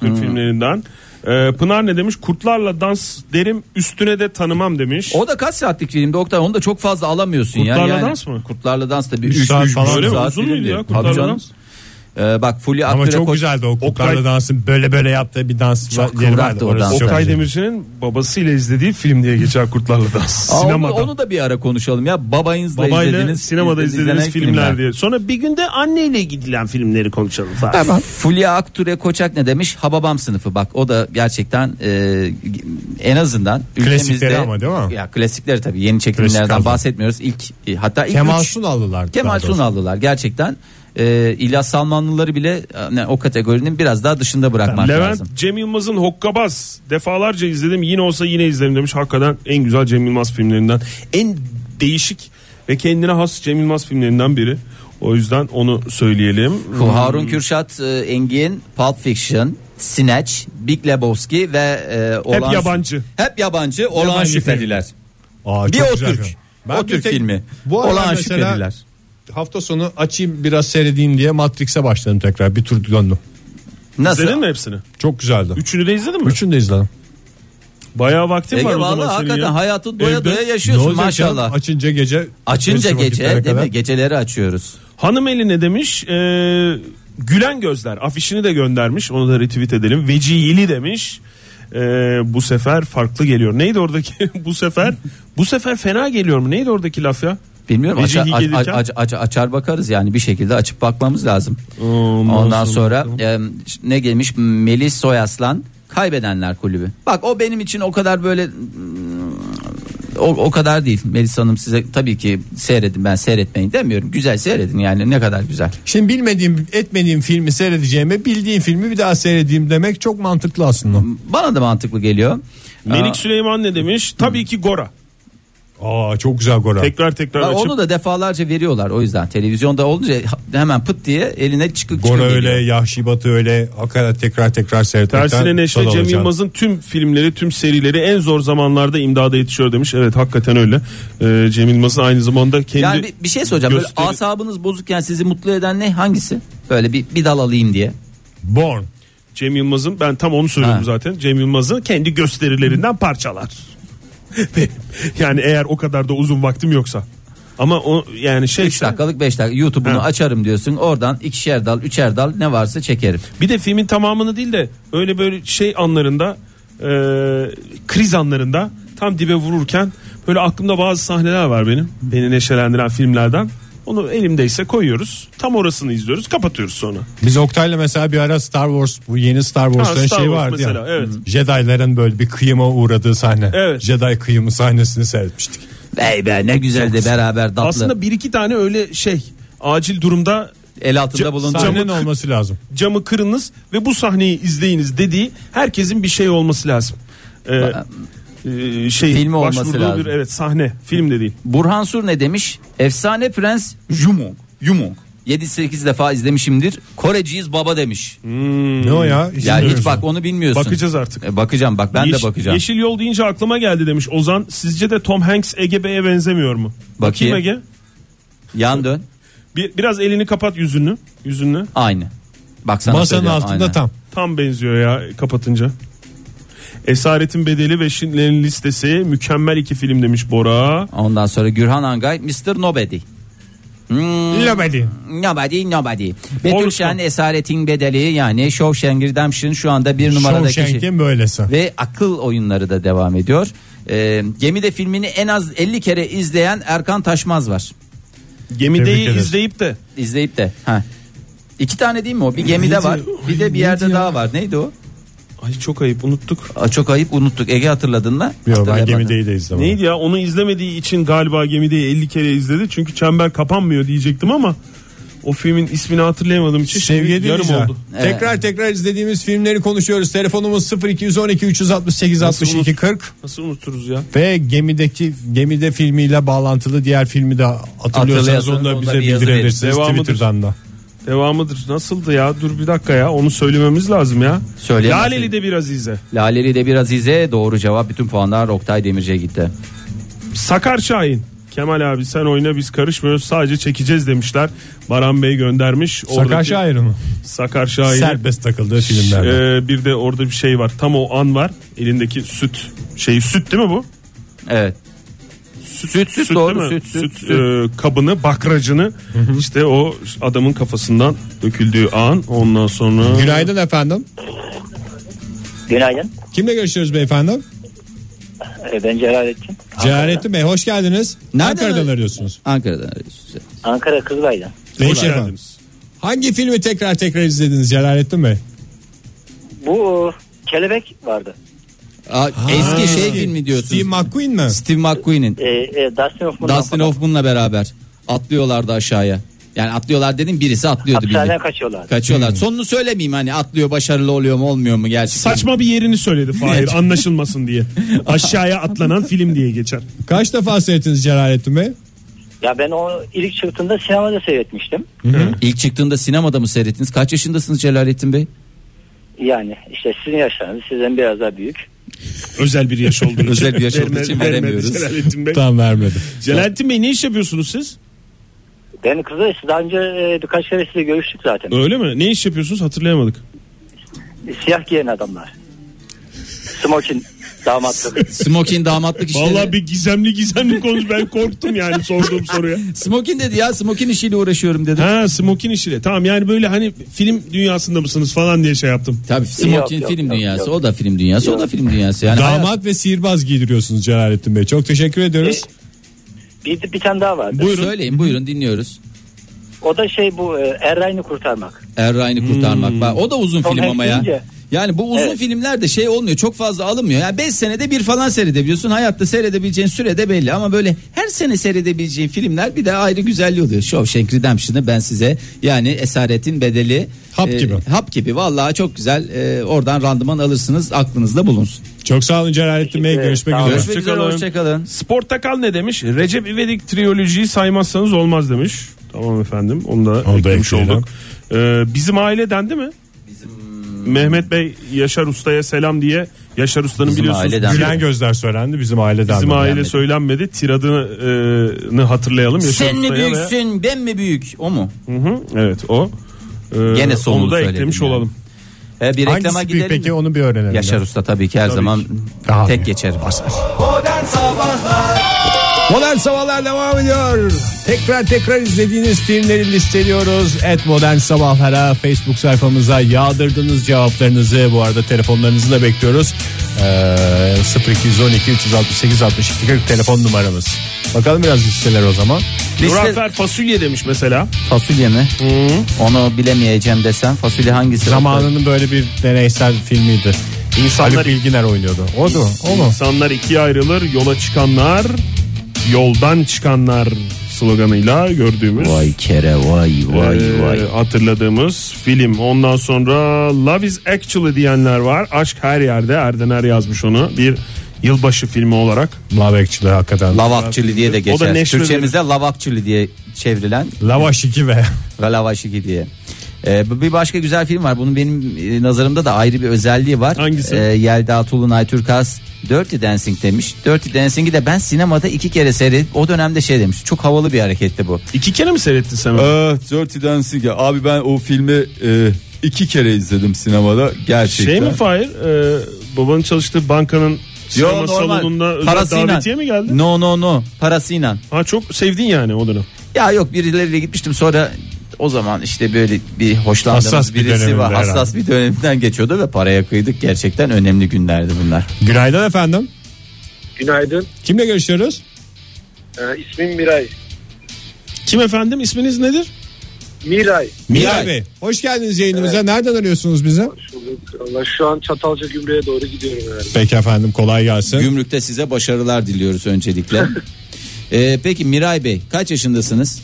Speaker 4: Türk filmlerinden. Ee, Pınar ne demiş? Kurtlarla dans derim üstüne de tanımam demiş.
Speaker 3: O da kaç saatlik filmdi Oktay? Onu da çok fazla alamıyorsun ya.
Speaker 4: Kurtlarla
Speaker 3: Yani
Speaker 4: dans mı?
Speaker 3: Kurtlarla dans da bir
Speaker 2: Üç
Speaker 3: üç-
Speaker 2: saat
Speaker 3: üç
Speaker 2: falan
Speaker 3: buçuk
Speaker 4: mı? Uzun muydu
Speaker 3: filmdi.
Speaker 4: ya
Speaker 3: Tabii
Speaker 4: Kurtlarla
Speaker 3: canım.
Speaker 4: dans?
Speaker 3: Ee, bak Fulya
Speaker 2: Ama
Speaker 3: Akdürek
Speaker 2: çok
Speaker 3: hoca-
Speaker 2: güzeldi o kukarla
Speaker 4: Oktay-
Speaker 2: dansın böyle böyle yaptığı bir dans
Speaker 3: Çok
Speaker 2: var- yeri
Speaker 3: kıvraktı
Speaker 2: vardı.
Speaker 3: o
Speaker 2: Orası
Speaker 3: dans.
Speaker 2: çok
Speaker 4: Okay
Speaker 2: güzel.
Speaker 4: Demirci'nin babasıyla izlediği film diye geçer Kurtlarla Dans.
Speaker 3: Aa, onu,
Speaker 4: Sinemada.
Speaker 3: onu da bir ara konuşalım ya. Babayınızla
Speaker 4: Babayla
Speaker 3: izlediğiniz
Speaker 4: sinemada
Speaker 3: izle-
Speaker 4: izlediğiniz
Speaker 3: izlenen
Speaker 4: filmler, diye. Sonra bir günde anneyle gidilen filmleri konuşalım falan.
Speaker 3: Fulya Akture Koçak ne demiş? Hababam sınıfı bak o da gerçekten e, en azından
Speaker 2: Klasikleri
Speaker 3: ülkemizde-
Speaker 2: ama değil mi?
Speaker 3: Ya klasikleri tabii yeni çekimlerden
Speaker 2: Klasik kaldı.
Speaker 3: bahsetmiyoruz. İlk e, hatta ilk
Speaker 2: Kemal
Speaker 3: üç-
Speaker 2: Sunal'lılar.
Speaker 3: Kemal
Speaker 2: daha doğrusu.
Speaker 3: Sunal'lılar gerçekten. E, İlyas Salmanlıları bile yani o kategorinin biraz daha dışında bırakmak
Speaker 4: Levent
Speaker 3: lazım.
Speaker 4: Cem Yılmaz'ın Hokkabaz defalarca izledim yine olsa yine izlerim demiş. Hakikaten en güzel Cem Yılmaz filmlerinden en değişik ve kendine has Cem Yılmaz filmlerinden biri. O yüzden onu söyleyelim.
Speaker 3: Bu Harun Kürşat e, Engin, Pulp Fiction, Snatch, Big Lebowski ve e, olan
Speaker 4: yabancı.
Speaker 3: Hep yabancı olan
Speaker 2: Yabancı
Speaker 3: şüpheliler.
Speaker 2: Aa,
Speaker 3: Bir
Speaker 2: çok
Speaker 3: o
Speaker 2: güzel
Speaker 3: Türk.
Speaker 2: film.
Speaker 3: o
Speaker 9: bir
Speaker 3: Türk
Speaker 9: tek-
Speaker 3: filmi.
Speaker 9: Bu aralar
Speaker 3: olan
Speaker 9: mesela-
Speaker 3: şüpheliler.
Speaker 9: Hafta sonu açayım biraz seyredeyim diye Matrix'e başladım tekrar. Bir tur döndüm.
Speaker 3: Nasıl?
Speaker 4: İzledin mi hepsini?
Speaker 9: Çok güzeldi.
Speaker 4: Üçünü de izledin mi?
Speaker 9: Üçünü de izledim.
Speaker 4: Bayağı vaktin
Speaker 3: Ege
Speaker 4: var o
Speaker 3: vallahi
Speaker 4: zaman senin
Speaker 3: hakikaten
Speaker 4: ya.
Speaker 3: hayatı doya
Speaker 4: Evde
Speaker 3: doya
Speaker 9: Ne
Speaker 3: yaşıyorsun
Speaker 9: olacak canım?
Speaker 3: maşallah.
Speaker 9: Açınca gece.
Speaker 3: Açınca
Speaker 9: beşi
Speaker 3: gece
Speaker 9: vakitlere
Speaker 3: değil
Speaker 9: kadar.
Speaker 3: mi? Geceleri açıyoruz.
Speaker 4: Hanım eli ne demiş? Ee, Gülen gözler afişini de göndermiş. Onu da retweet edelim. Vecihili demiş. Ee, bu sefer farklı geliyor. Neydi oradaki? bu sefer bu sefer fena geliyor mu? Neydi oradaki laf ya?
Speaker 3: Bilmiyorum
Speaker 4: Gece
Speaker 3: açar,
Speaker 4: iyi
Speaker 3: aç-
Speaker 4: gelirken-
Speaker 3: aç- aç- aç- açar bakarız yani bir şekilde açıp bakmamız lazım. Ondan sonra e, ş- ne gelmiş Melis Soyaslan kaybedenler kulübü. Bak o benim için o kadar böyle mm, o, o kadar değil. Melis Hanım size tabii ki seyredin ben seyretmeyin demiyorum. Güzel seyredin yani ne kadar güzel.
Speaker 9: Şimdi bilmediğim etmediğim filmi seyredeceğime bildiğim filmi bir daha seyredeyim demek çok mantıklı aslında.
Speaker 3: Bana da mantıklı geliyor.
Speaker 4: Melik
Speaker 3: Aa,
Speaker 4: Süleyman ne demiş? Tabii ki Gora.
Speaker 9: Aa çok güzel Gora.
Speaker 4: Tekrar tekrar
Speaker 3: Ha,
Speaker 4: açıp
Speaker 3: onu da defalarca veriyorlar o yüzden televizyonda olunca ha- hemen pıt diye eline çıkıp
Speaker 9: Gora
Speaker 3: çıkıp
Speaker 9: öyle,
Speaker 3: geliyor.
Speaker 9: Yahşi Batı öyle. Hakikaten tekrar tekrar seyretmekten.
Speaker 4: Tersine Neşve
Speaker 9: tad
Speaker 4: Cem
Speaker 9: alacaksın.
Speaker 4: Yılmaz'ın tüm filmleri, tüm serileri en zor zamanlarda imdada yetişiyor demiş. Evet hakikaten öyle. Ee, Cem Yılmaz'ın aynı zamanda kendi
Speaker 3: Yani bir, bir şey soracağım. Böyle
Speaker 4: gösteri-
Speaker 3: asabınız bozukken sizi mutlu eden ne? Hangisi? Böyle bir, bir dal alayım diye.
Speaker 9: Born.
Speaker 4: Cem Yılmaz'ın ben tam onu söylüyorum
Speaker 3: Ha.
Speaker 4: zaten. Cem Yılmaz'ı kendi gösterilerinden parçalar. Ve yani eğer o kadar da uzun vaktim yoksa. Ama o yani şey
Speaker 3: 3 dakikalık 5 dakika YouTube'unu
Speaker 4: Ha.
Speaker 3: açarım diyorsun. Oradan ikişer dal, üçer dal ne varsa çekerim.
Speaker 4: bir de filmin tamamını değil de öyle böyle şey anlarında e, kriz anlarında tam dibe vururken böyle aklımda bazı sahneler var benim. Beni neşelendiren filmlerden. Onu elimdeyse koyuyoruz. Tam orasını izliyoruz. Kapatıyoruz sonra.
Speaker 9: Biz Oktay'la mesela bir ara Star Wars bu yeni Star Wars'ların
Speaker 4: Ha, Star
Speaker 9: şeyi
Speaker 4: Wars
Speaker 9: vardı
Speaker 4: mesela,
Speaker 9: ya.
Speaker 4: evet.
Speaker 9: Jedi'ların böyle bir kıyıma uğradığı sahne.
Speaker 4: Evet.
Speaker 9: Jedi kıyımı sahnesini seyretmiştik.
Speaker 3: Vey be ne güzel de beraber datlı.
Speaker 4: Aslında bir iki tane öyle şey acil durumda
Speaker 3: el altında
Speaker 4: Ca-
Speaker 3: bulundu.
Speaker 4: Camı-
Speaker 9: Sahnenin olması lazım.
Speaker 4: camı kırınız ve bu sahneyi izleyiniz dediği herkesin bir şey olması lazım. Ee, e, şey
Speaker 3: Filmi olması
Speaker 4: başvurduğu
Speaker 3: lazım.
Speaker 4: Bir, evet sahne film de değil.
Speaker 3: Burhan Sur ne demiş? Efsane Prens Jumong. Jumong. 7-8 defa izlemişimdir. Koreciyiz baba demiş.
Speaker 9: Ne o ya? Hiç
Speaker 3: ya
Speaker 9: bilmiyorum.
Speaker 3: hiç bak onu bilmiyorsun.
Speaker 4: Hmm, Bakacağız artık.
Speaker 3: E, bakacağım bak ben
Speaker 4: Yeş-
Speaker 3: de bakacağım.
Speaker 4: Yeşil yol deyince aklıma geldi demiş Ozan. Sizce de Tom Hanks Ege Bey'e benzemiyor mu?
Speaker 3: Bakayım.
Speaker 4: Ege.
Speaker 3: Yan dön.
Speaker 4: Bir, biraz elini kapat yüzünü. Yüzünü.
Speaker 3: Aynı. Bak sana
Speaker 9: Masanın
Speaker 3: söylüyorum,
Speaker 9: altında
Speaker 3: aynı.
Speaker 9: tam.
Speaker 4: Tam benziyor ya kapatınca. Esaretin Bedeli ve Schindler'in Listesi mükemmel iki film demiş Bora.
Speaker 3: Ondan sonra Gürhan Angay Mr. Nobody.
Speaker 9: Lobeli.
Speaker 3: Nobody nobody. Betül
Speaker 4: Forrest
Speaker 3: Şen
Speaker 4: Gump.
Speaker 3: Esaretin Bedeli yani Shawshank Redemption şu anda bir numaradaki şey.
Speaker 9: Shawshank'in böylesi.
Speaker 3: Ve akıl oyunları da devam ediyor. Ee, Gemide filmini en az 50 kere izleyen Erkan Taşmaz var.
Speaker 9: Tebrik
Speaker 4: Gemideyi
Speaker 9: ederiz.
Speaker 4: izleyip de
Speaker 3: İzleyip de. Ha. İki tane değil mi o? Bir gemide
Speaker 4: Neydi?
Speaker 3: var. Bir de bir
Speaker 4: Neydi
Speaker 3: yerde
Speaker 4: ya?
Speaker 3: daha var. Neydi o?
Speaker 4: ay çok ayıp unuttuk.
Speaker 3: Aa, çok ayıp unuttuk. Ege hatırladın mı?
Speaker 9: Yok ben
Speaker 3: Hatırlayamadın.
Speaker 9: gemideyi de izlemedim.
Speaker 4: Neydi ya onu izlemediği için galiba Gemide'yi 50 kere izledi. Çünkü çember kapanmıyor diyecektim ama o filmin ismini hatırlayamadığım için şimdi
Speaker 9: Sevgili
Speaker 4: şey, yarım
Speaker 9: dinleyiciler,
Speaker 4: oldu.
Speaker 9: Tekrar tekrar izlediğimiz filmleri konuşuyoruz. Telefonumuz 0212 368 62 40
Speaker 4: Nasıl unuturuz ya?
Speaker 9: ve gemideki gemide filmiyle bağlantılı diğer filmi de hatırlıyorsanız
Speaker 3: Hatırlıyorsanız
Speaker 9: onu da
Speaker 3: onda
Speaker 9: bize
Speaker 3: bir yazı
Speaker 9: bildirebilirsiniz
Speaker 4: verin. Devamıdır.
Speaker 9: Twitter'dan da.
Speaker 4: Devamıdır. Nasıldı ya? Dur bir dakika ya. Onu söylememiz lazım ya.
Speaker 3: Söyleyemezsin.
Speaker 4: Laleli de bir Azize.
Speaker 3: Laleli de biraz ize doğru cevap bütün puanlar Oktay Demirci'ye gitti.
Speaker 4: Sakar Şahin. Kemal abi sen oyna biz karışmıyoruz sadece çekeceğiz demişler. Baran Bey göndermiş.
Speaker 9: Sakar
Speaker 4: Oradaki-
Speaker 9: Şair mi?
Speaker 4: Sakar Şahin.
Speaker 9: Serbest takıldığı filmlerden.
Speaker 4: Ee, bir de orada bir şey var. Tam o an var. Elindeki süt şeyi süt değil mi bu?
Speaker 3: Evet.
Speaker 4: süt,
Speaker 10: Sütsüz,
Speaker 4: süt
Speaker 10: doğru,
Speaker 4: değil mi?
Speaker 10: süt, süt, süt.
Speaker 4: e, kabını, bakracını işte o adamın kafasından döküldüğü an ondan sonra
Speaker 2: Günaydın efendim.
Speaker 1: Günaydın.
Speaker 2: Kimle görüşüyoruz beyefendi?
Speaker 1: Ee, Ben Celalettin.
Speaker 2: Cehalettin Bey hoş geldiniz.
Speaker 3: Nereden
Speaker 2: Ankara'dan
Speaker 3: arıyorsun?
Speaker 2: arıyorsunuz.
Speaker 3: Ankara'dan arıyorsunuz.
Speaker 1: Ankara Kızılay'dan.
Speaker 4: hoş
Speaker 2: Beyefendi.
Speaker 4: geldiniz.
Speaker 2: Hangi filmi tekrar tekrar izlediniz Celalettin Bey?
Speaker 1: Bu e, kelebek vardı.
Speaker 3: Aa, eski şey
Speaker 2: Eski.
Speaker 3: filmi diyorsunuz.
Speaker 2: Steve McQueen mi?
Speaker 3: Steve McQueen'in.
Speaker 1: Ee, e, Dustin Hoffman'dan
Speaker 3: Dustin Hoffman'la beraber atlıyorlardı aşağıya. Yani atlıyorlar dedim birisi atlıyordu.
Speaker 1: hapishaneden
Speaker 3: bildiğin.
Speaker 1: kaçıyorlar.
Speaker 3: Kaçıyorlar. Sonunu söylemeyeyim hani atlıyor başarılı oluyor mu olmuyor mu gerçekten.
Speaker 4: Saçma bir yerini söyledi Fahir anlaşılmasın diye. Aşağıya atlanan film diye geçer.
Speaker 2: Kaç defa seyrettiniz Celalettin Bey?
Speaker 1: Ya ben o ilk çıktığında sinemada seyretmiştim.
Speaker 3: İlk çıktığında sinemada mı seyrettiniz? Kaç yaşındasınız Celalettin Bey?
Speaker 1: Yani işte sizin yaşlarınız sizden biraz daha büyük.
Speaker 4: Özel bir yaş olduğu için.
Speaker 3: Özel bir yaş olduğu
Speaker 4: Verme-
Speaker 3: için
Speaker 4: vermedi
Speaker 3: veremiyoruz.
Speaker 4: Celalettin Bey.
Speaker 2: Tam vermedim.
Speaker 4: Celalettin Bey ne iş yapıyorsunuz siz?
Speaker 1: Ben Kızılay siz daha önce e, birkaç kere size görüştük zaten.
Speaker 4: Öyle mi? Ne iş yapıyorsunuz hatırlayamadık.
Speaker 1: Siyah giyen adamlar. Smokin damatlık.
Speaker 3: Smoking damatlık işleri.
Speaker 4: Vallahi bir gizemli gizemli konuş ben korktum yani sorduğum soruya.
Speaker 3: Smoking dedi ya smoking işiyle uğraşıyorum dedi.
Speaker 4: Ha smokin işiyle. Tamam yani böyle hani film dünyasında mısınız falan diye şey yaptım.
Speaker 3: Tabii smoking
Speaker 1: Yok, yok,
Speaker 3: film
Speaker 1: yok,
Speaker 3: dünyası.
Speaker 1: yok.
Speaker 3: O da film dünyası. O da film dünyası. Yani hayat-
Speaker 2: Damat ve sihirbaz giydiriyorsunuz Celalettin Bey. Çok teşekkür ediyoruz.
Speaker 1: bir, bir tane daha vardı.
Speaker 4: Buyurun.
Speaker 3: Söyleyin buyurun dinliyoruz.
Speaker 1: O da şey bu e, Erray'ını kurtarmak.
Speaker 3: Erray'ını Er kurtarmak. Bak, O da uzun
Speaker 1: Tom
Speaker 3: film ama
Speaker 1: Hanks
Speaker 3: ya.
Speaker 1: deyince.
Speaker 3: Yani bu uzun
Speaker 1: Evet.
Speaker 3: filmler de şey olmuyor. Çok fazla alınmıyor. Yani 5 senede bir falan seyredebiliyorsun. Hayatta seyredebileceğin süre de belli. Ama böyle her sene seyredebileceğin filmler bir de ayrı güzelliği oluyor. Shawshank Redemption'ı ben size yani Esaretin Bedeli. e,
Speaker 2: Hap gibi.
Speaker 3: Hap gibi. Vallahi çok güzel. e, oradan randıman alırsınız. Aklınızda bulunsun.
Speaker 2: Çok sağ olun Celalettin Bey. Görüşmek
Speaker 1: Sağ olun.
Speaker 2: üzere.
Speaker 3: Görüşmek üzere.
Speaker 4: Hoşçakalın.
Speaker 3: Hoşçakalın.
Speaker 4: Sportakal E, ne demiş? Recep İvedik triyolojiyi saymazsanız olmaz demiş. Tamam efendim onu da
Speaker 2: da
Speaker 4: eklemiş
Speaker 2: ekleyelim.
Speaker 4: olduk. Ee, bizim aile dendi mi? Mehmet Bey Yaşar Usta'ya selam diye Yaşar Usta'nın
Speaker 3: Bizim
Speaker 4: biliyorsunuz
Speaker 3: aile dendi.
Speaker 4: tira-
Speaker 2: Gülen gözler söylendi bizim aileden.
Speaker 4: bizim aile
Speaker 3: Söylenmedi.
Speaker 4: söylenmedi tiradını e, hatırlayalım Yaşar
Speaker 3: Sen mi
Speaker 4: Usta'ya ve-
Speaker 3: büyüksün ben mi büyük o mu?
Speaker 4: Hı hı, evet o. Ee,
Speaker 3: Gene sonunu
Speaker 4: onu da
Speaker 3: söyledim
Speaker 4: eklemiş
Speaker 3: yani.
Speaker 4: olalım.
Speaker 3: E, bir
Speaker 2: Hangisi
Speaker 3: reklama
Speaker 2: büyük
Speaker 3: gidelim.
Speaker 2: peki
Speaker 3: mi?
Speaker 2: onu bir öğrenelim.
Speaker 3: Yaşar Usta tabii ki her zaman
Speaker 2: Daha
Speaker 3: tek
Speaker 2: iyi.
Speaker 3: geçer.
Speaker 2: Modern Sabahlar devam ediyor. Tekrar tekrar izlediğiniz filmleri listeliyoruz. Et Modern Sabahlara Facebook sayfamıza yağdırdığınız cevaplarınızı bu arada telefonlarınızı da bekliyoruz. Ee, 0212 368 62 40 telefon numaramız. Bakalım biraz listeler o zaman.
Speaker 4: Nurafer fasulye demiş mesela.
Speaker 3: Fasulye mi? Onu bilemeyeceğim desem fasulye hangisi?
Speaker 2: Zamanının böyle bir deneysel filmiydi.
Speaker 4: İnsanlar-
Speaker 2: İnsanlar Bilginer oynuyordu. O da o mu?
Speaker 4: İnsanlar ikiye ayrılır, yola çıkanlar, yoldan çıkanlar sloganıyla gördüğümüz
Speaker 3: Vay kere vay vay
Speaker 4: e,
Speaker 3: vay.
Speaker 4: hatırladığımız film. Ondan sonra Love is Actually diyenler var. Aşk her yerde. Erdener yazmış onu. Bir yılbaşı filmi olarak.
Speaker 2: Mabekçiler hakikaten.
Speaker 3: Lavakçılı diye de
Speaker 4: O da
Speaker 3: geçer.
Speaker 4: National-
Speaker 3: Türkçemizde lavakçılı diye çevrilen
Speaker 2: Lavaş 2 ve
Speaker 3: ve lavaşiki diye. E, bu bir başka güzel film var. Bunun benim e, nazarımda da ayrı bir özelliği var.
Speaker 4: Hangisi?
Speaker 3: E, Yelda Tulunay Türkas Dirty Dancing demiş. Dirty Dancing'i de ben sinemada iki kere seyredip o dönemde şey demiş. Çok havalı bir hareketti bu.
Speaker 4: İki kere mi seyrettin sen onu?
Speaker 10: Ah, Dirty Dancing ya. Abi ben o filmi e, iki kere izledim sinemada gerçekten.
Speaker 4: Şey mi Fahir? E, babanın çalıştığı bankanın
Speaker 10: Yo,
Speaker 4: sinema
Speaker 10: normal.
Speaker 4: salonunda özel
Speaker 3: Parasıyla.
Speaker 4: davetiye mi geldin?
Speaker 3: No no no parasıyla.
Speaker 4: Ha çok sevdin yani o dönem.
Speaker 3: Ya yok birileriyle gitmiştim sonra o zaman işte böyle bir hoşlandığımız
Speaker 2: Hassas bir
Speaker 3: birisi
Speaker 2: döneminde
Speaker 3: var. Hassas
Speaker 2: herhalde.
Speaker 3: bir dönemden geçiyordu ve paraya kıydık. Gerçekten önemli günlerdi bunlar.
Speaker 2: Günaydın efendim.
Speaker 6: Günaydın.
Speaker 2: Kimle görüşüyoruz?
Speaker 6: Ee, ismim Miray.
Speaker 4: Kim efendim isminiz nedir?
Speaker 6: Miray.
Speaker 3: Miray.
Speaker 2: Miray Bey. Hoş geldiniz yayınımıza. Nereden arıyorsunuz bize?
Speaker 6: Allah şu an Çatalca Gümrüğe doğru gidiyorum herhalde.
Speaker 2: Peki efendim kolay gelsin.
Speaker 3: Gümrükte size başarılar diliyoruz öncelikle. Ee, peki Miray Bey kaç yaşındasınız?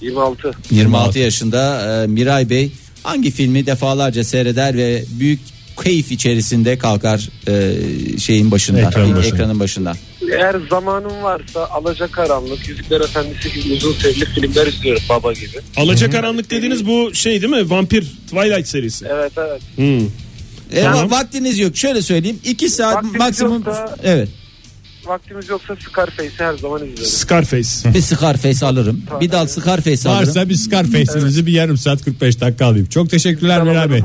Speaker 6: 26.
Speaker 3: 26 yaşında e, Miray Bey hangi filmi defalarca seyreder ve büyük keyif içerisinde kalkar e, şeyin başından,
Speaker 2: Ekranın
Speaker 3: ekranın,
Speaker 2: başına.
Speaker 3: başından.
Speaker 6: Eğer zamanım varsa Alacakaranlık, Yüzükler Efendisi gibi uzun serili filmler izliyorum baba gibi.
Speaker 4: Alacakaranlık dediğiniz bu şey değil mi? Vampir Twilight serisi. Hmm.
Speaker 6: Evet evet.
Speaker 4: Hı.
Speaker 3: E,
Speaker 4: Tamam.
Speaker 3: vaktiniz yok. Şöyle söyleyeyim. 2 saat
Speaker 6: Vaktimiz
Speaker 3: maksimum
Speaker 6: yok da-
Speaker 3: evet.
Speaker 6: vaktimiz yoksa Scarface'i her zaman izleriz.
Speaker 4: Scarface.
Speaker 3: Bir Scarface alırım. Bir dal Scarface alırım.
Speaker 2: Varsa bir Scarface'inizi bir yarım saat 45 dakika alayım. Çok teşekkürler Miray Bey.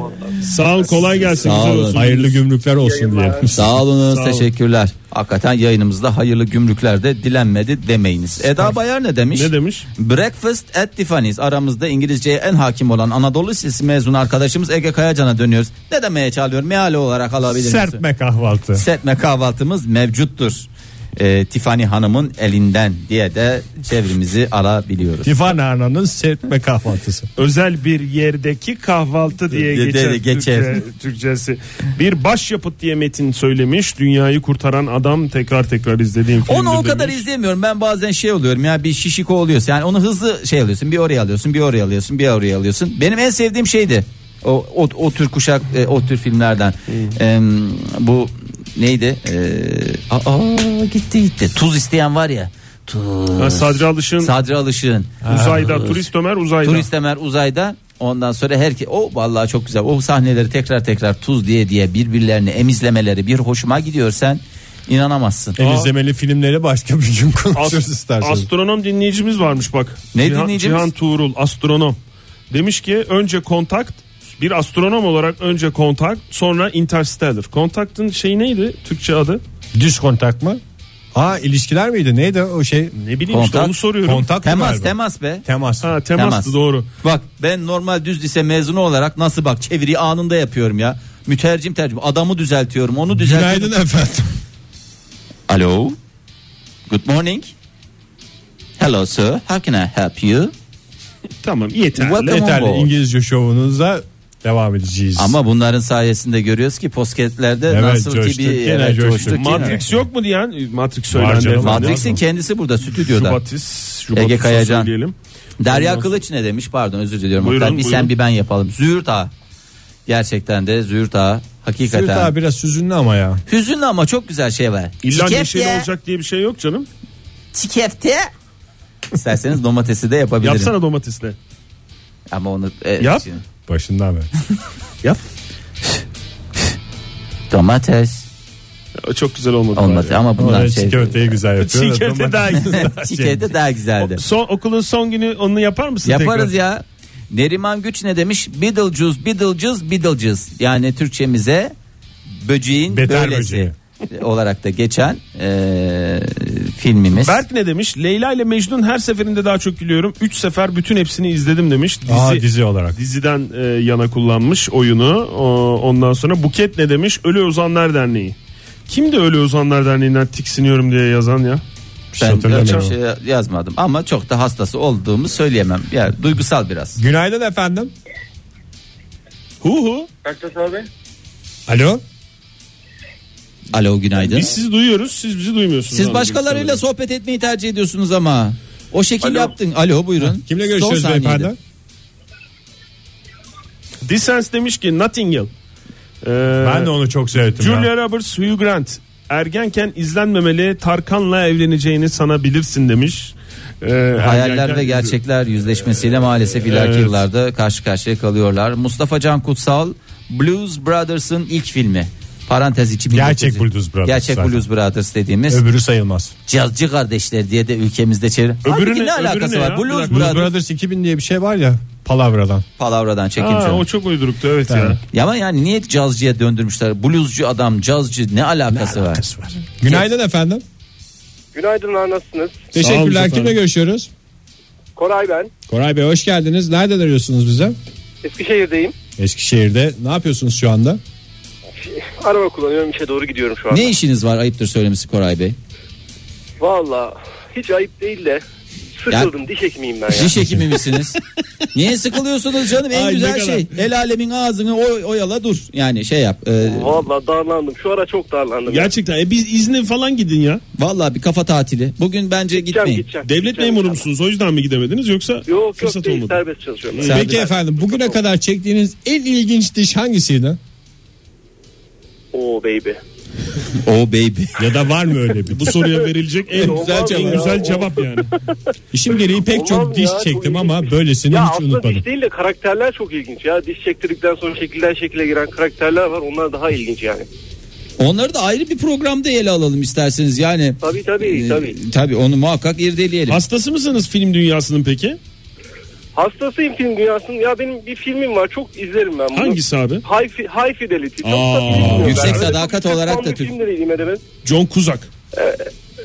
Speaker 4: Sağ ol kolay gelsin.
Speaker 3: Sağ
Speaker 4: güzel
Speaker 3: olun.
Speaker 4: olsun.
Speaker 2: Hayırlı gümrükler olsun diye.
Speaker 6: Yayınlar.
Speaker 3: Sağ olunuz
Speaker 4: Sağ olun.
Speaker 3: teşekkürler. Hakikaten yayınımızda hayırlı gümrüklerde dilenmedi demeyiniz. Eda Bayar ne demiş?
Speaker 4: Ne demiş?
Speaker 3: Breakfast at Tiffany's. Aramızda İngilizceye en hakim olan Anadolu Lisesi mezunu arkadaşımız Ege Kayacan'a dönüyoruz. Ne demeye çalıyor? Meal olarak alabilir misin?
Speaker 2: Serpme kahvaltı.
Speaker 3: Serpme kahvaltımız mevcuttur. Ee, Tiffany Hanım'ın elinden diye de çevrimizi alabiliyoruz.
Speaker 2: Tifan Ana'nın serpme kahvaltısı.
Speaker 4: Özel bir yerdeki kahvaltı diye
Speaker 3: Dedi-
Speaker 4: geçer,
Speaker 3: geçer.
Speaker 4: Türkçe- Türkçesi. Bir başyapıt diye metin söylemiş. Dünyayı kurtaran adam tekrar tekrar izlediğim filmde
Speaker 3: Onu o kadar
Speaker 4: demiş.
Speaker 3: izlemiyorum. Ben bazen şey oluyorum ya bir şişiko oluyorsun. Yani onu hızlı şey alıyorsun. Bir oraya alıyorsun, bir oraya alıyorsun, bir oraya alıyorsun. Benim en sevdiğim şeydi. O o, o tür kuşak, e, o tür filmlerden. Em, bu neydi? E, aa gitti gitti. Tuz isteyen var ya. Tuz.
Speaker 4: Ha, Sadri Alış'ın
Speaker 3: Sadri Alışık'ın.
Speaker 4: uzayda,
Speaker 3: Tuz.
Speaker 4: turist Ömer uzayda.
Speaker 3: Turist Ömer uzayda. Ondan sonra herki o vallahi çok güzel. O sahneleri tekrar tekrar tuz diye diye birbirlerini emizlemeleri bir hoşuma gidiyor sen inanamazsın.
Speaker 2: El izlemeli filmleri başka bir gün konuşuruz
Speaker 4: Ast-
Speaker 2: isterseniz.
Speaker 4: astronom dinleyicimiz varmış bak.
Speaker 3: Ne
Speaker 4: Cihan,
Speaker 3: dinleyicimiz?
Speaker 4: Cihan Tuğrul astronom. Demiş ki önce kontakt bir astronom olarak önce kontakt sonra interstellar. Kontaktın şey neydi Türkçe adı?
Speaker 2: Düz kontak mı? Ha ilişkiler miydi? Neydi o şey?
Speaker 4: Ne bileyim işte
Speaker 3: Kontakt.
Speaker 4: onu soruyorum.
Speaker 2: Kontak
Speaker 3: Temas
Speaker 2: mı galiba?
Speaker 3: temas be.
Speaker 2: Temas.
Speaker 4: Ha temastı
Speaker 3: Temas.
Speaker 4: doğru.
Speaker 3: Bak ben normal düz lise mezunu olarak nasıl bak çeviri anında yapıyorum ya. Mütercim tercim adamı düzeltiyorum onu düzeltiyorum.
Speaker 2: Günaydın efendim.
Speaker 3: Alo. Good morning. Hello sir. How can I help you?
Speaker 4: Tamam yeterli.
Speaker 3: Welcome on
Speaker 2: Yeterli
Speaker 3: board.
Speaker 2: İngilizce şovunuza devam edeceğiz.
Speaker 3: Ama bunların sayesinde görüyoruz ki posketlerde
Speaker 2: Evet,
Speaker 3: nasıl
Speaker 2: coştuk
Speaker 3: ki bir
Speaker 2: yine,
Speaker 3: evet,
Speaker 2: coştuk.
Speaker 3: coştuk yine.
Speaker 4: E, Matrix yok mu diyen E, Matrix
Speaker 2: Var
Speaker 4: söylendi.
Speaker 2: canım,
Speaker 4: efendim.
Speaker 3: Matrix'in kendisi burada stüdyoda.
Speaker 4: Şubatis, Şubatis
Speaker 3: Ege Kayacan.
Speaker 4: söyleyelim.
Speaker 3: Derya
Speaker 4: Ondan sonra-
Speaker 3: Kılıç ne demiş? Pardon özür diliyorum.
Speaker 4: Buyurun,
Speaker 3: Oktay. bir
Speaker 4: buyurun.
Speaker 3: sen bir ben yapalım. Züğürt Ağa. Gerçekten de Züğürt Ağa. Hakikaten.
Speaker 2: Sürt abi biraz süzünlü ama ya.
Speaker 3: Hüzünlü ama çok güzel şey var.
Speaker 4: İlla
Speaker 3: Çikefte-
Speaker 4: neşeli olacak diye bir şey yok canım.
Speaker 3: Çikefte. İsterseniz domatesi de yapabilirim.
Speaker 4: Yapsana domatesle.
Speaker 3: Ama onu e, evet,
Speaker 4: Yap.
Speaker 3: şimdi.
Speaker 2: Başından beri.
Speaker 3: Domates.
Speaker 4: Çok güzel olmadı.
Speaker 3: Olmadı
Speaker 4: bari.
Speaker 3: ama bunlar
Speaker 2: Bunlar
Speaker 3: şey.
Speaker 2: çikolatayı güzel yapıyor.
Speaker 4: Çiğ köfte daha güzel.
Speaker 3: Çikefte daha güzeldi.
Speaker 4: Son, okulun son günü onu yapar mısın
Speaker 3: Yaparız
Speaker 4: tekrar?
Speaker 3: ya. Neriman Güç ne demiş? Beetlejuice, Beetlejuice, Beetlejuice. Yani Türkçemize böceğin
Speaker 2: Beter
Speaker 3: böylesi olarak da geçen eee, filmimiz.
Speaker 4: Berk ne demiş? Leyla ile Mecnun her seferinde daha çok gülüyorum. 3 sefer bütün hepsini izledim demiş. Dizi,
Speaker 2: Aa dizi olarak.
Speaker 4: Diziden e, yana kullanmış oyunu. O- ondan sonra Buket ne demiş? Ölü Ozanlar Derneği. Kim de Ölü Ozanlar Derneği'nden tiksiniyorum diye yazan ya?
Speaker 3: ben öyle bir
Speaker 2: Hatırlamıyorum.
Speaker 3: şey yazmadım ama çok da hastası olduğumu söyleyemem. Yani duygusal biraz.
Speaker 2: Günaydın efendim.
Speaker 4: Hu hu.
Speaker 6: Ertuğrul abi.
Speaker 2: Alo.
Speaker 3: Alo günaydın.
Speaker 4: Biz sizi duyuyoruz siz bizi duymuyorsunuz.
Speaker 3: Siz
Speaker 4: Anladım.
Speaker 3: başkalarıyla sohbet etmeyi tercih ediyorsunuz ama. O şekil
Speaker 6: Alo.
Speaker 3: yaptın. Alo buyurun.
Speaker 2: Kimle
Speaker 3: Son
Speaker 2: görüşüyoruz
Speaker 3: saniyede.
Speaker 2: beyefendi?
Speaker 4: Dissens demiş ki Notting Hill. Ee,
Speaker 2: Ben de onu çok sevdim. ya.
Speaker 4: Julia Roberts, Hugh Grant. Ergenken izlenmemeli Tarkan'la evleneceğini sana bilirsin demiş. Ee,
Speaker 3: Hayaller
Speaker 4: ergenken-
Speaker 3: ve gerçekler yüzleşmesiyle maalesef ileriki
Speaker 4: Evet.
Speaker 3: yıllarda karşı karşıya kalıyorlar. Mustafa Can Kutsal Blues Brothers'ın ilk filmi. Parantez içi
Speaker 2: Gerçek
Speaker 3: 1900
Speaker 2: Blues Brothers
Speaker 3: Gerçek
Speaker 2: zaten.
Speaker 3: Blues Brothers dediğimiz
Speaker 2: Öbürü sayılmaz.
Speaker 3: cazcı kardeşler diye de ülkemizde çevir. Halbuki
Speaker 4: öbürü
Speaker 3: ne alakası
Speaker 4: ne
Speaker 3: var?
Speaker 4: ya? Bir
Speaker 3: Blues
Speaker 4: dakika.
Speaker 2: Blues
Speaker 3: Brothers
Speaker 2: Brothers 2000 diye bir şey var ya palavradan.
Speaker 3: palavradan çekim
Speaker 4: Aa,
Speaker 3: canım.
Speaker 4: o çok uyduruktu evet ya.
Speaker 3: Ya Ama yani niye cazcıya döndürmüşler? Bluescu adam cazcı ne alakası var?
Speaker 2: Günaydın efendim.
Speaker 6: Günaydınlar nasılsınız?
Speaker 4: olun
Speaker 2: Teşekkürler.
Speaker 4: efendim.
Speaker 2: Kimle görüşüyoruz?
Speaker 6: Koray ben.
Speaker 2: Koray Bey hoş geldiniz. Nereden arıyorsunuz bize?
Speaker 6: Eskişehir'deyim.
Speaker 2: Eskişehir'de. Ne yapıyorsunuz şu anda?
Speaker 6: Araba kullanıyorum işe doğru gidiyorum şu an.
Speaker 3: Ne işiniz var ayıptır söylemesi Koray Bey?
Speaker 6: Valla hiç ayıp değil de sıkıldım diş hekimiyim ben ya.
Speaker 3: Diş hekimi misiniz? Niye sıkılıyorsunuz canım? En
Speaker 2: Ay, ne
Speaker 3: güzel
Speaker 2: kadar.
Speaker 3: şey. El alemin ağzını oy, oyala dur. Yani şey yap. e,
Speaker 6: Valla darlandım şu ara çok darlandım. ya.
Speaker 4: Gerçekten e, biz izne falan gidin ya.
Speaker 3: vallahi bir kafa tatili. Bugün bence
Speaker 6: Gideceğim,
Speaker 3: gitmeyin.
Speaker 6: gideceğim,
Speaker 4: Devlet
Speaker 6: gideceğim
Speaker 4: memuru
Speaker 6: inşallah.
Speaker 4: musunuz? O yüzden mi gidemediniz yoksa
Speaker 6: Yok yok
Speaker 4: fırsat
Speaker 6: değil
Speaker 4: olmadı?
Speaker 6: serbest çalışıyorum. ben.
Speaker 3: Sen-
Speaker 2: Peki efendim bugüne kadar çektiğiniz en ilginç diş hangisiydi?
Speaker 6: Oo baby.
Speaker 3: Oh baby.
Speaker 2: Ya da var mı öyle bir?
Speaker 4: Bu soruya verilecek en
Speaker 6: Olmaz
Speaker 4: güzel, en
Speaker 6: ya,
Speaker 4: güzel
Speaker 6: o-
Speaker 4: cevap yani.
Speaker 2: İşim gereği pek
Speaker 6: Olmaz
Speaker 2: çok diş
Speaker 6: ya, çok
Speaker 2: çektim
Speaker 6: ilginç
Speaker 2: ama
Speaker 6: bir- şey.
Speaker 2: böylesini
Speaker 6: Ya
Speaker 2: hiç
Speaker 6: aslında
Speaker 2: unutmadım.
Speaker 6: diş değil de karakterler çok ilginç ya. Diş çektirdikten sonra şekilden şekile giren karakterler var. Onlar daha ilginç yani.
Speaker 11: Onları da ayrı bir programda ele alalım isterseniz. Yani
Speaker 6: Tabii tabii
Speaker 3: Ee,
Speaker 11: e,
Speaker 6: tabii.
Speaker 11: tabii onu muhakkak irdeleyelim.
Speaker 4: Hastası mısınız film dünyasının peki?
Speaker 6: Hastasıyım film dünyasının. Ya benim bir filmim var çok izlerim ben bunu.
Speaker 4: Hangisi abi?
Speaker 6: High, fi- high Fidelity. Çok
Speaker 4: Aa,
Speaker 6: da bilmiyorum
Speaker 11: Yüksek
Speaker 6: ben. Öyle
Speaker 11: Sadakat
Speaker 6: çok
Speaker 11: olarak
Speaker 6: tam
Speaker 11: da
Speaker 6: bir
Speaker 11: Türk-
Speaker 6: Film de değilim hemen.
Speaker 4: John Kuzak.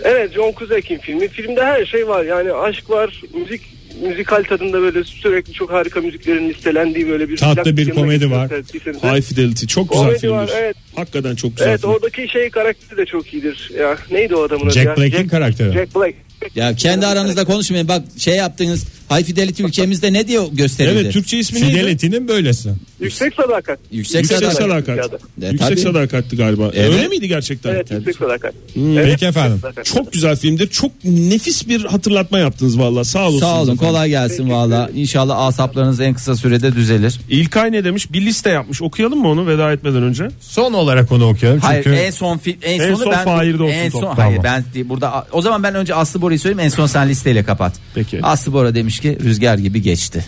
Speaker 6: Evet John Cusack'in filmi. Filmde her şey var. Yani aşk var, müzik müzikal tadında böyle sürekli çok harika müziklerin listelendiği böyle bir
Speaker 4: Tatlı
Speaker 6: plak
Speaker 4: bir
Speaker 6: yanına
Speaker 4: komedi
Speaker 6: gitmek
Speaker 4: var.
Speaker 6: isterseniz.
Speaker 4: High Fidelity. Çok güzel
Speaker 6: Komedi
Speaker 4: filmdir.
Speaker 6: var, evet.
Speaker 4: Hakikaten çok güzel
Speaker 6: Evet
Speaker 4: film.
Speaker 6: oradaki şey karakteri de çok iyidir. Ya neydi o adamın adı
Speaker 2: Jack
Speaker 6: ya?
Speaker 2: Black'in karakteri.
Speaker 6: Jack Black.
Speaker 11: Ya kendi aranızda konuşmayın. Bak şey yaptığınız High Fidelity ülkemizde ne diyor gösterildi?
Speaker 4: Evet Türkçe ismi neydi?
Speaker 2: Fidelity'nin böylesi.
Speaker 6: Yüksek sadakat.
Speaker 11: Yüksek,
Speaker 4: Yüksek
Speaker 11: Sadakat.
Speaker 4: Sadakat.
Speaker 11: E,
Speaker 4: Yüksek
Speaker 11: tabii.
Speaker 4: Sadakat'tı galiba. E,
Speaker 11: Evet.
Speaker 4: Öyle miydi gerçekten?
Speaker 6: Evet, yüksek sadakat.
Speaker 2: Peki efendim.
Speaker 4: Çok güzel filmdir. Çok nefis bir hatırlatma yaptınız valla. Sağ olun.
Speaker 11: Sağ olun kolay gelsin valla. İnşallah asaplarınız en kısa sürede düzelir.
Speaker 4: İlkay ne demiş? Bir liste yapmış. Okuyalım mı onu veda etmeden önce?
Speaker 2: Son olarak onu okuyalım
Speaker 3: Hayır
Speaker 2: çünkü
Speaker 3: en son film en,
Speaker 4: En
Speaker 3: sonu
Speaker 4: son
Speaker 3: ben
Speaker 4: Fahir'de olsun
Speaker 3: en son
Speaker 4: top.
Speaker 3: hayır
Speaker 2: Tamam.
Speaker 3: ben burada o zaman ben önce Aslı Bora'yı söyleyeyim en son sen listeyle kapat.
Speaker 4: Peki.
Speaker 3: Aslı Bora demiş ki rüzgar gibi geçti.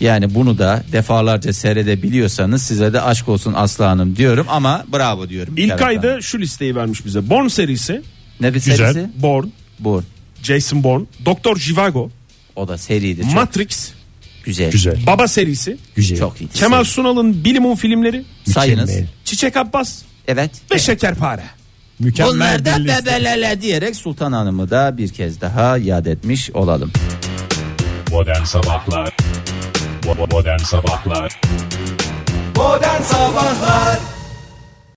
Speaker 3: Yani bunu da defalarca seyredebiliyorsanız size de aşk olsun Aslı Hanım diyorum ama bravo diyorum. bir
Speaker 4: İlkay
Speaker 3: taraftan.
Speaker 4: da şu listeyi vermiş bize. Born serisi.
Speaker 3: ne bir
Speaker 2: Güzel.
Speaker 3: serisi?
Speaker 4: Born.
Speaker 3: Bu.
Speaker 4: Jason Bourne. Doktor Jivago.
Speaker 3: O da seriydi. Çok
Speaker 4: Matrix.
Speaker 3: güzel.
Speaker 2: güzel.
Speaker 4: Baba serisi.
Speaker 2: Güzel.
Speaker 3: Çok iyi.
Speaker 4: Kemal Sunal'ın Bilimum filmleri.
Speaker 3: sayınız.
Speaker 2: Mükemmel.
Speaker 4: Çiçek Abbas.
Speaker 3: Evet.
Speaker 4: Ve Şekerpare.
Speaker 2: Mükemmel
Speaker 3: Bunlar da
Speaker 2: bir liste.
Speaker 3: bebelele diyerek Sultan Hanım'ı da bir kez daha yad etmiş olalım.
Speaker 9: Modern Sabahlar Modern Sabahlar